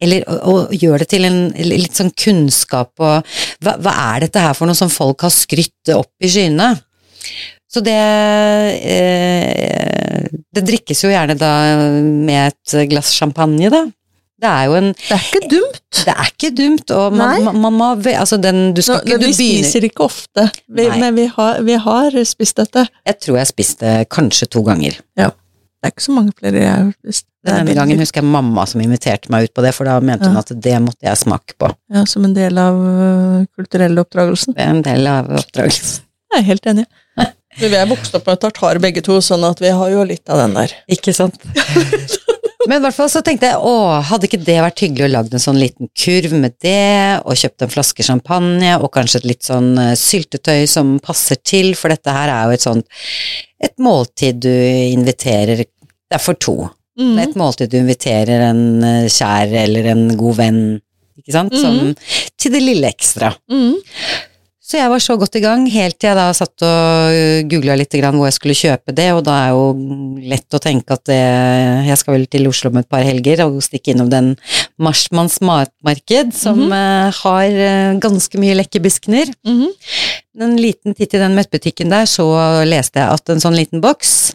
Speaker 1: Eller og, og gjør det til en litt sånn kunnskap og hva, hva er dette her for noe som folk har skrytt opp i skyene? Så det eh, Det drikkes jo gjerne da med et glass champagne, da. Det er jo en
Speaker 2: Det er ikke dumt!
Speaker 1: Det er ikke dumt, og man,
Speaker 2: Nei.
Speaker 1: man, man må ve- Altså, den Du skal
Speaker 2: Nå,
Speaker 1: ikke Du
Speaker 2: vi
Speaker 1: begynner
Speaker 2: spiser ikke ofte, vi,
Speaker 1: Nei.
Speaker 2: men vi har, vi har spist dette.
Speaker 1: Jeg tror jeg spiste kanskje to ganger.
Speaker 2: Det er ikke så mange flere jeg har spist. Det er
Speaker 1: Denne
Speaker 2: veldig-
Speaker 1: gangen husker jeg mamma som inviterte meg ut på det, for da mente hun
Speaker 2: Ja.
Speaker 1: at det måtte jeg smake på.
Speaker 2: Ja, som en del av ø, øh, kulturelle oppdragelsen.
Speaker 1: Det er en del av oppdragelsen.
Speaker 2: Jeg er helt enig. Du, Vi er vokst opp med tartar begge to, sånn at vi har jo litt av den der.
Speaker 1: Ikke sant? Men i hvert fall så tenkte jeg å, hadde ikke det vært hyggelig å lage en sånn liten kurv med det, og kjøpt en flaske champagne, og kanskje et litt sånn eh, syltetøy som passer til, for dette her er jo et sånt et måltid du inviterer Det er for to. Det er Et måltid du inviterer en eh, kjær eller en god venn, ikke sant, som, til det lille ekstra.
Speaker 2: Mm.
Speaker 1: Så jeg var så godt i gang, helt til jeg da satt og googla litt grann hvor jeg skulle kjøpe det, og da er jo lett å tenke at det, jeg skal vel til Oslo om et par helger og stikke innom den Marsmanns matmarked, som eh, har eh, ganske mye lekre biskener.
Speaker 2: Mhm.
Speaker 1: En liten titt i den møttbutikken der, så leste jeg at en sånn liten boks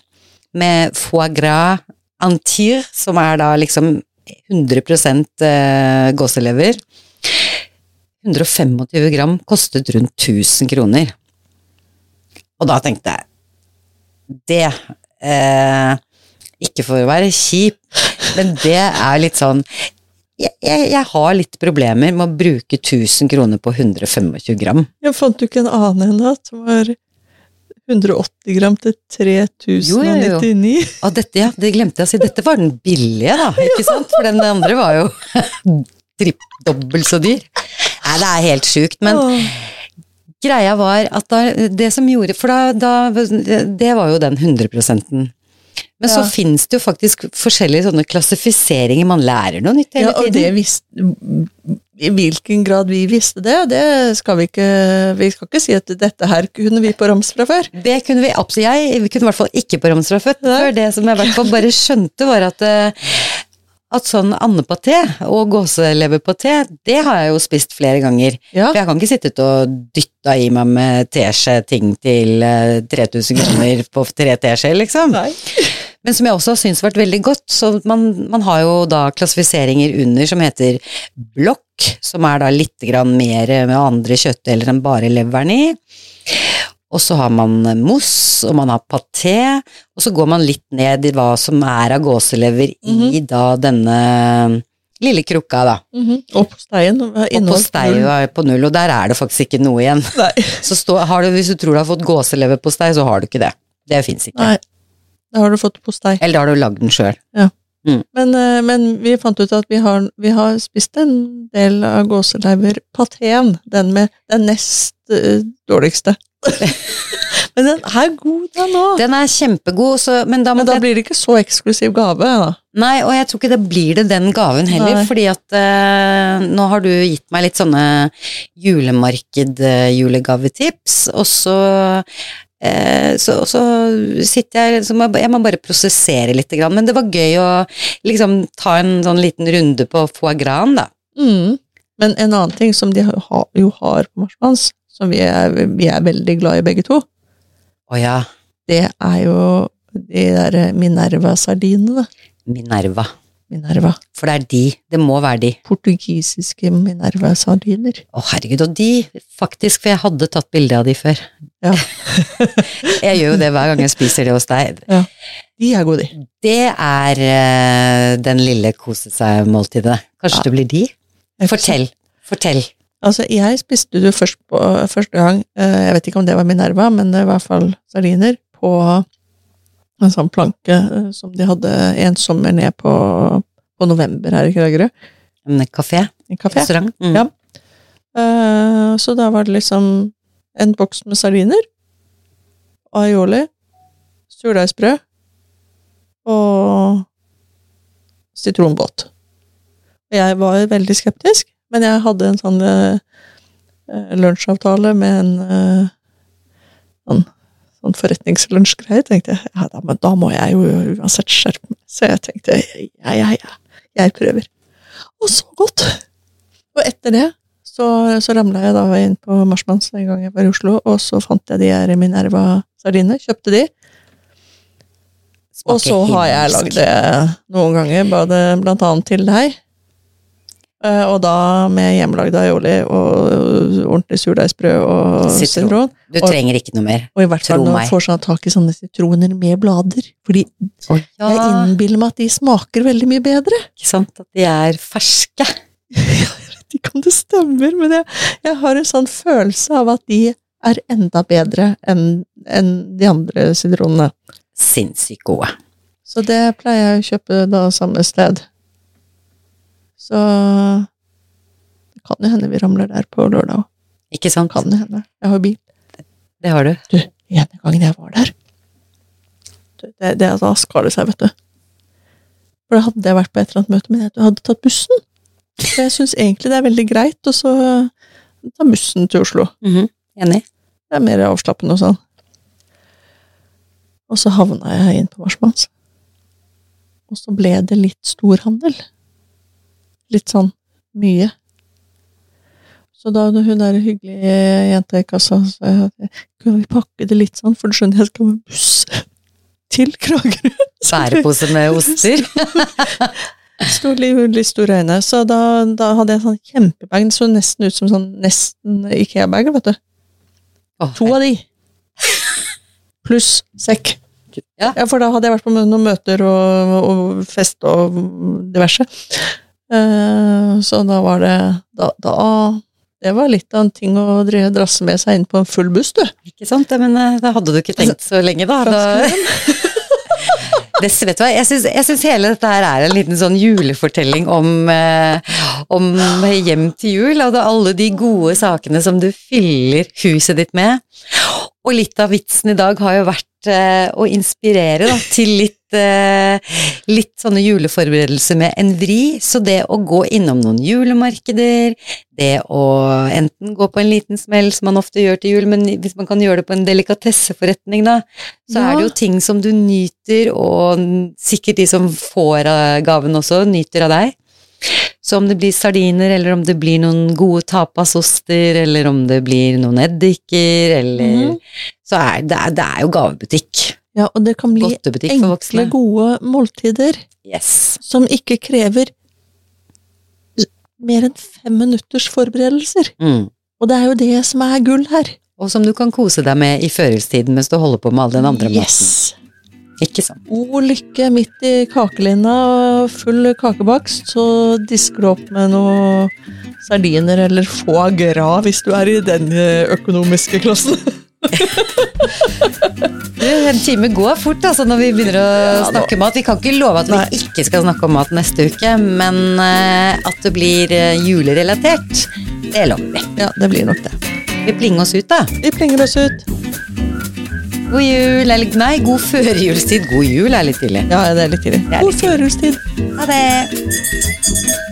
Speaker 1: med foie gras antir, som er da liksom 100 eh, gåselever 125 gram kostet rundt 1000 kroner. Og da tenkte jeg Det eh, Ikke for å være kjip, men det er litt sånn jeg, jeg, jeg har litt problemer med å bruke 1000 kroner på 125 gram.
Speaker 2: Jeg fant jo ikke en annen enn det, som var 180 gram til 3099.
Speaker 1: Jo, jo, Og dette, ja, det glemte jeg å si. Dette var den billige, da. Ikke sant? For den andre var jo tripp, dobbelt så dyr. Nei, det er helt sjukt, men
Speaker 2: Åh.
Speaker 1: greia var at da, det som gjorde For da, da Det var jo den 100 men så
Speaker 2: Ja.
Speaker 1: fins det jo faktisk forskjellige sånne klassifiseringer. Man lærer noe nytt hele
Speaker 2: ja, og det
Speaker 1: tiden.
Speaker 2: visste I hvilken grad vi visste det, det skal vi ikke Vi skal ikke si at dette her kunne vi på rams fra før.
Speaker 1: Det, kunne vi absolutt Jeg vi kunne i hvert fall ikke på Romsdal født før. Det som jeg i hvert fall bare skjønte, var at eh, at sånn andepaté og gåseleverpaté, det har jeg jo spist flere ganger.
Speaker 2: Ja.
Speaker 1: For jeg kan ikke sitte ute og dytta i meg med teskje ting til eh, 3000 kroner på tre teskjeer, liksom.
Speaker 2: Nei.
Speaker 1: Men som jeg også har syntes har vært veldig godt, så man, man har jo da klassifiseringer under som heter blokk, som er da litt grann mer med andre kjøttdeler enn bare leveren i. Og så har man mousse, og man har paté, og så går man litt ned i hva som er av gåselever i da denne lille krukka, da.
Speaker 2: Og posteien
Speaker 1: Og
Speaker 2: var inneholdt
Speaker 1: postei
Speaker 2: null.
Speaker 1: er på null, og der er det faktisk ikke noe igjen.
Speaker 2: Nei.
Speaker 1: Så stå, har du, hvis du tror du har fått gåseleverpostei, så har du ikke det. Det fins ikke.
Speaker 2: Nei. Da har du fått postei.
Speaker 1: Eller da har du lagd den sjøl.
Speaker 2: Men, eh, men vi fant ut at vi har, vi har spist en del av gåseleverpateen. Den med den nest eh, dårligste. men den er god, den òg.
Speaker 1: Den er kjempegod, så, men da må
Speaker 2: Men da
Speaker 1: jeg
Speaker 2: blir det ikke så eksklusiv gave. Da.
Speaker 1: Nei, og jeg tror ikke det blir det den gaven heller,
Speaker 2: Nei.
Speaker 1: fordi at eh, nå har du gitt meg litt sånne julemarked-julegavetips, og så eh, så, så sitter jeg liksom Jeg jeg må bare prosessere litt, grann, men det var gøy å liksom ta en sånn liten runde på foie gras, da.
Speaker 2: Mm. Men en annen ting som de ha, jo har på Marsmanns, som vi er, vi er veldig glad i begge to,
Speaker 1: Å ja,
Speaker 2: det er jo de der eh, Minerva-sardinene.
Speaker 1: Minerva.
Speaker 2: Minerva.
Speaker 1: For det er de. Det må være de.
Speaker 2: Portugisiske Minerva-sardiner.
Speaker 1: Å herregud, og de faktisk, for jeg hadde tatt bilde av de før.
Speaker 2: Ja.
Speaker 1: jeg gjør jo det hver gang jeg spiser det hos deg.
Speaker 2: De er gode, de.
Speaker 1: Det er eh, den lille kose seg-måltidet. Kanskje
Speaker 2: Ja.
Speaker 1: det blir de?
Speaker 2: Jeg får se.
Speaker 1: Fortell. Fortell.
Speaker 2: Altså, jeg spiste det først på, første gang, eh, jeg vet ikke om det var Minerva, men det var i hvert fall sardiner, på en sånn planke eh, som de hadde en sommer ned på, på november her i Kragerø.
Speaker 1: En kafé?
Speaker 2: En kafé.
Speaker 1: Restaurant? Mm.
Speaker 2: Ja. Eh, Så da var det liksom en boks med sardiner, aioli, surdeigsbrød og sitronbåt. Jeg var veldig skeptisk, men jeg hadde en sånn eh, eh, lunsjavtale med en eh, sånn, sånn forretningslunsjgreie. tenkte jeg, ja, da, men da må jeg jo uansett skjerpe meg. Så jeg tenkte, ja, ja, ja, jeg prøver. Og så godt! Og etter det så, så ramla jeg da inn på Marsmanns en gang jeg var i Oslo, og så fant jeg de her Minerva-sardinene. Kjøpte de.
Speaker 1: Smaker
Speaker 2: og så har jeg
Speaker 1: himmelsk.
Speaker 2: lagd det noen ganger, både blant annet til deg. Eh, Og da med hjemmelagd aioli og ordentlig surdeigsbrød og
Speaker 1: Sitron.
Speaker 2: sitron.
Speaker 1: Du trenger ikke noe mer.
Speaker 2: Og i hvert fall
Speaker 1: Tro
Speaker 2: når
Speaker 1: meg.
Speaker 2: man får sånn tak i sånne sitroner med blader. Fordi jeg innbiller meg at de smaker veldig mye bedre.
Speaker 1: ikke sant at de er ferske.
Speaker 2: Jeg vet ikke om det stemmer, men jeg, jeg har en sånn følelse av at de er enda bedre enn enn de andre sitronene.
Speaker 1: Sinnssykt gode.
Speaker 2: Så det pleier jeg å kjøpe da samme sted. Så det kan jo hende vi ramler der på lørdag òg.
Speaker 1: Ikke sant?
Speaker 2: Kan jo hende. Jeg har jo bil.
Speaker 1: Det har du.
Speaker 2: ene gangen jeg var der Du, det, det, Da skar det seg, vet du. For da hadde jeg vært på et eller annet møte, men jeg hadde tatt bussen. For jeg syns egentlig det er veldig greit å så ta bussen til Oslo.
Speaker 1: Mhm. Enig.
Speaker 2: Det er mer avslappende og sånn. Og så havna jeg inn på Marsmanns. Og så ble det litt stor handel. Litt sånn mye. Så da hun der hyggelige jenta i kassa sa jeg at kunne vi pakke det litt sånn, for du skjønner jeg skal med buss til Kragerø. Sånn.
Speaker 1: Bærepose med oster.
Speaker 2: Stor, liv- litt store øyne. Så da, da hadde jeg sånn kjempebag. Den så nesten ut som sånn nesten Ikea-bag, vet du.
Speaker 1: Åh,
Speaker 2: To av de. Pluss sekk.
Speaker 1: Ja.
Speaker 2: For da hadde jeg vært på noen møter og, og fest og diverse. Eh, så da var det da, da Det var litt av en ting å dre- drasse med seg inn på en full buss, du.
Speaker 1: Ikke sant? Ja, Men eh, da hadde du ikke tenkt så lenge, da. da det, vet du hva, jeg syns, jeg syns hele dette her er en liten sånn julefortelling om, eh, om hjem til jul. Og det er alle de gode sakene som du fyller huset ditt med. Og litt av vitsen i dag har jo vært eh, å inspirere da, til litt, eh, litt sånne juleforberedelser med en vri. Så det å gå innom noen julemarkeder, det å enten gå på en liten smell, som man ofte gjør til jul, men hvis man kan gjøre det på en delikatesseforretning, da, så
Speaker 2: Ja.
Speaker 1: er det jo ting som du nyter, og n- sikkert de som får av gaven også, nyter av deg. Så om det blir sardiner, eller om det blir noen gode tapasoster, eller om det blir noen eddiker, eller
Speaker 2: Mhm.
Speaker 1: Så er det, er- det er jo gavebutikk.
Speaker 2: Ja, og det kan bli
Speaker 1: Godtebutikk for
Speaker 2: enkle,
Speaker 1: voksne.
Speaker 2: gode måltider
Speaker 1: Yes.
Speaker 2: som ikke krever s- mer enn fem minutters forberedelser.
Speaker 1: Mm.
Speaker 2: Og det er jo det som er gull her.
Speaker 1: Og som du kan kose deg med i førjulstiden mens du holder på med all den andre maten.
Speaker 2: yes.
Speaker 1: Ikke sant?
Speaker 2: God lykke midt i kakelinna og full kakebakst, så disker du opp med noe sardiner eller foie gras hvis du er i den eh, økonomiske klassen.
Speaker 1: Du, en time går fort altså, når vi begynner å
Speaker 2: Ja, da.
Speaker 1: snakke mat. Vi kan ikke love at vi
Speaker 2: Nei.
Speaker 1: ikke skal snakke om mat neste uke, men eh, at det blir eh, julerelatert, det lover vi.
Speaker 2: Ja, det blir nok det.
Speaker 1: Vi plinger oss ut, da.
Speaker 2: Vi plinger oss ut.
Speaker 1: God jul, eller nei, god førjulstid. God jul er litt tidlig.
Speaker 2: Ja, det er litt tidlig.
Speaker 1: er
Speaker 2: God førjulstid.
Speaker 1: Ha det.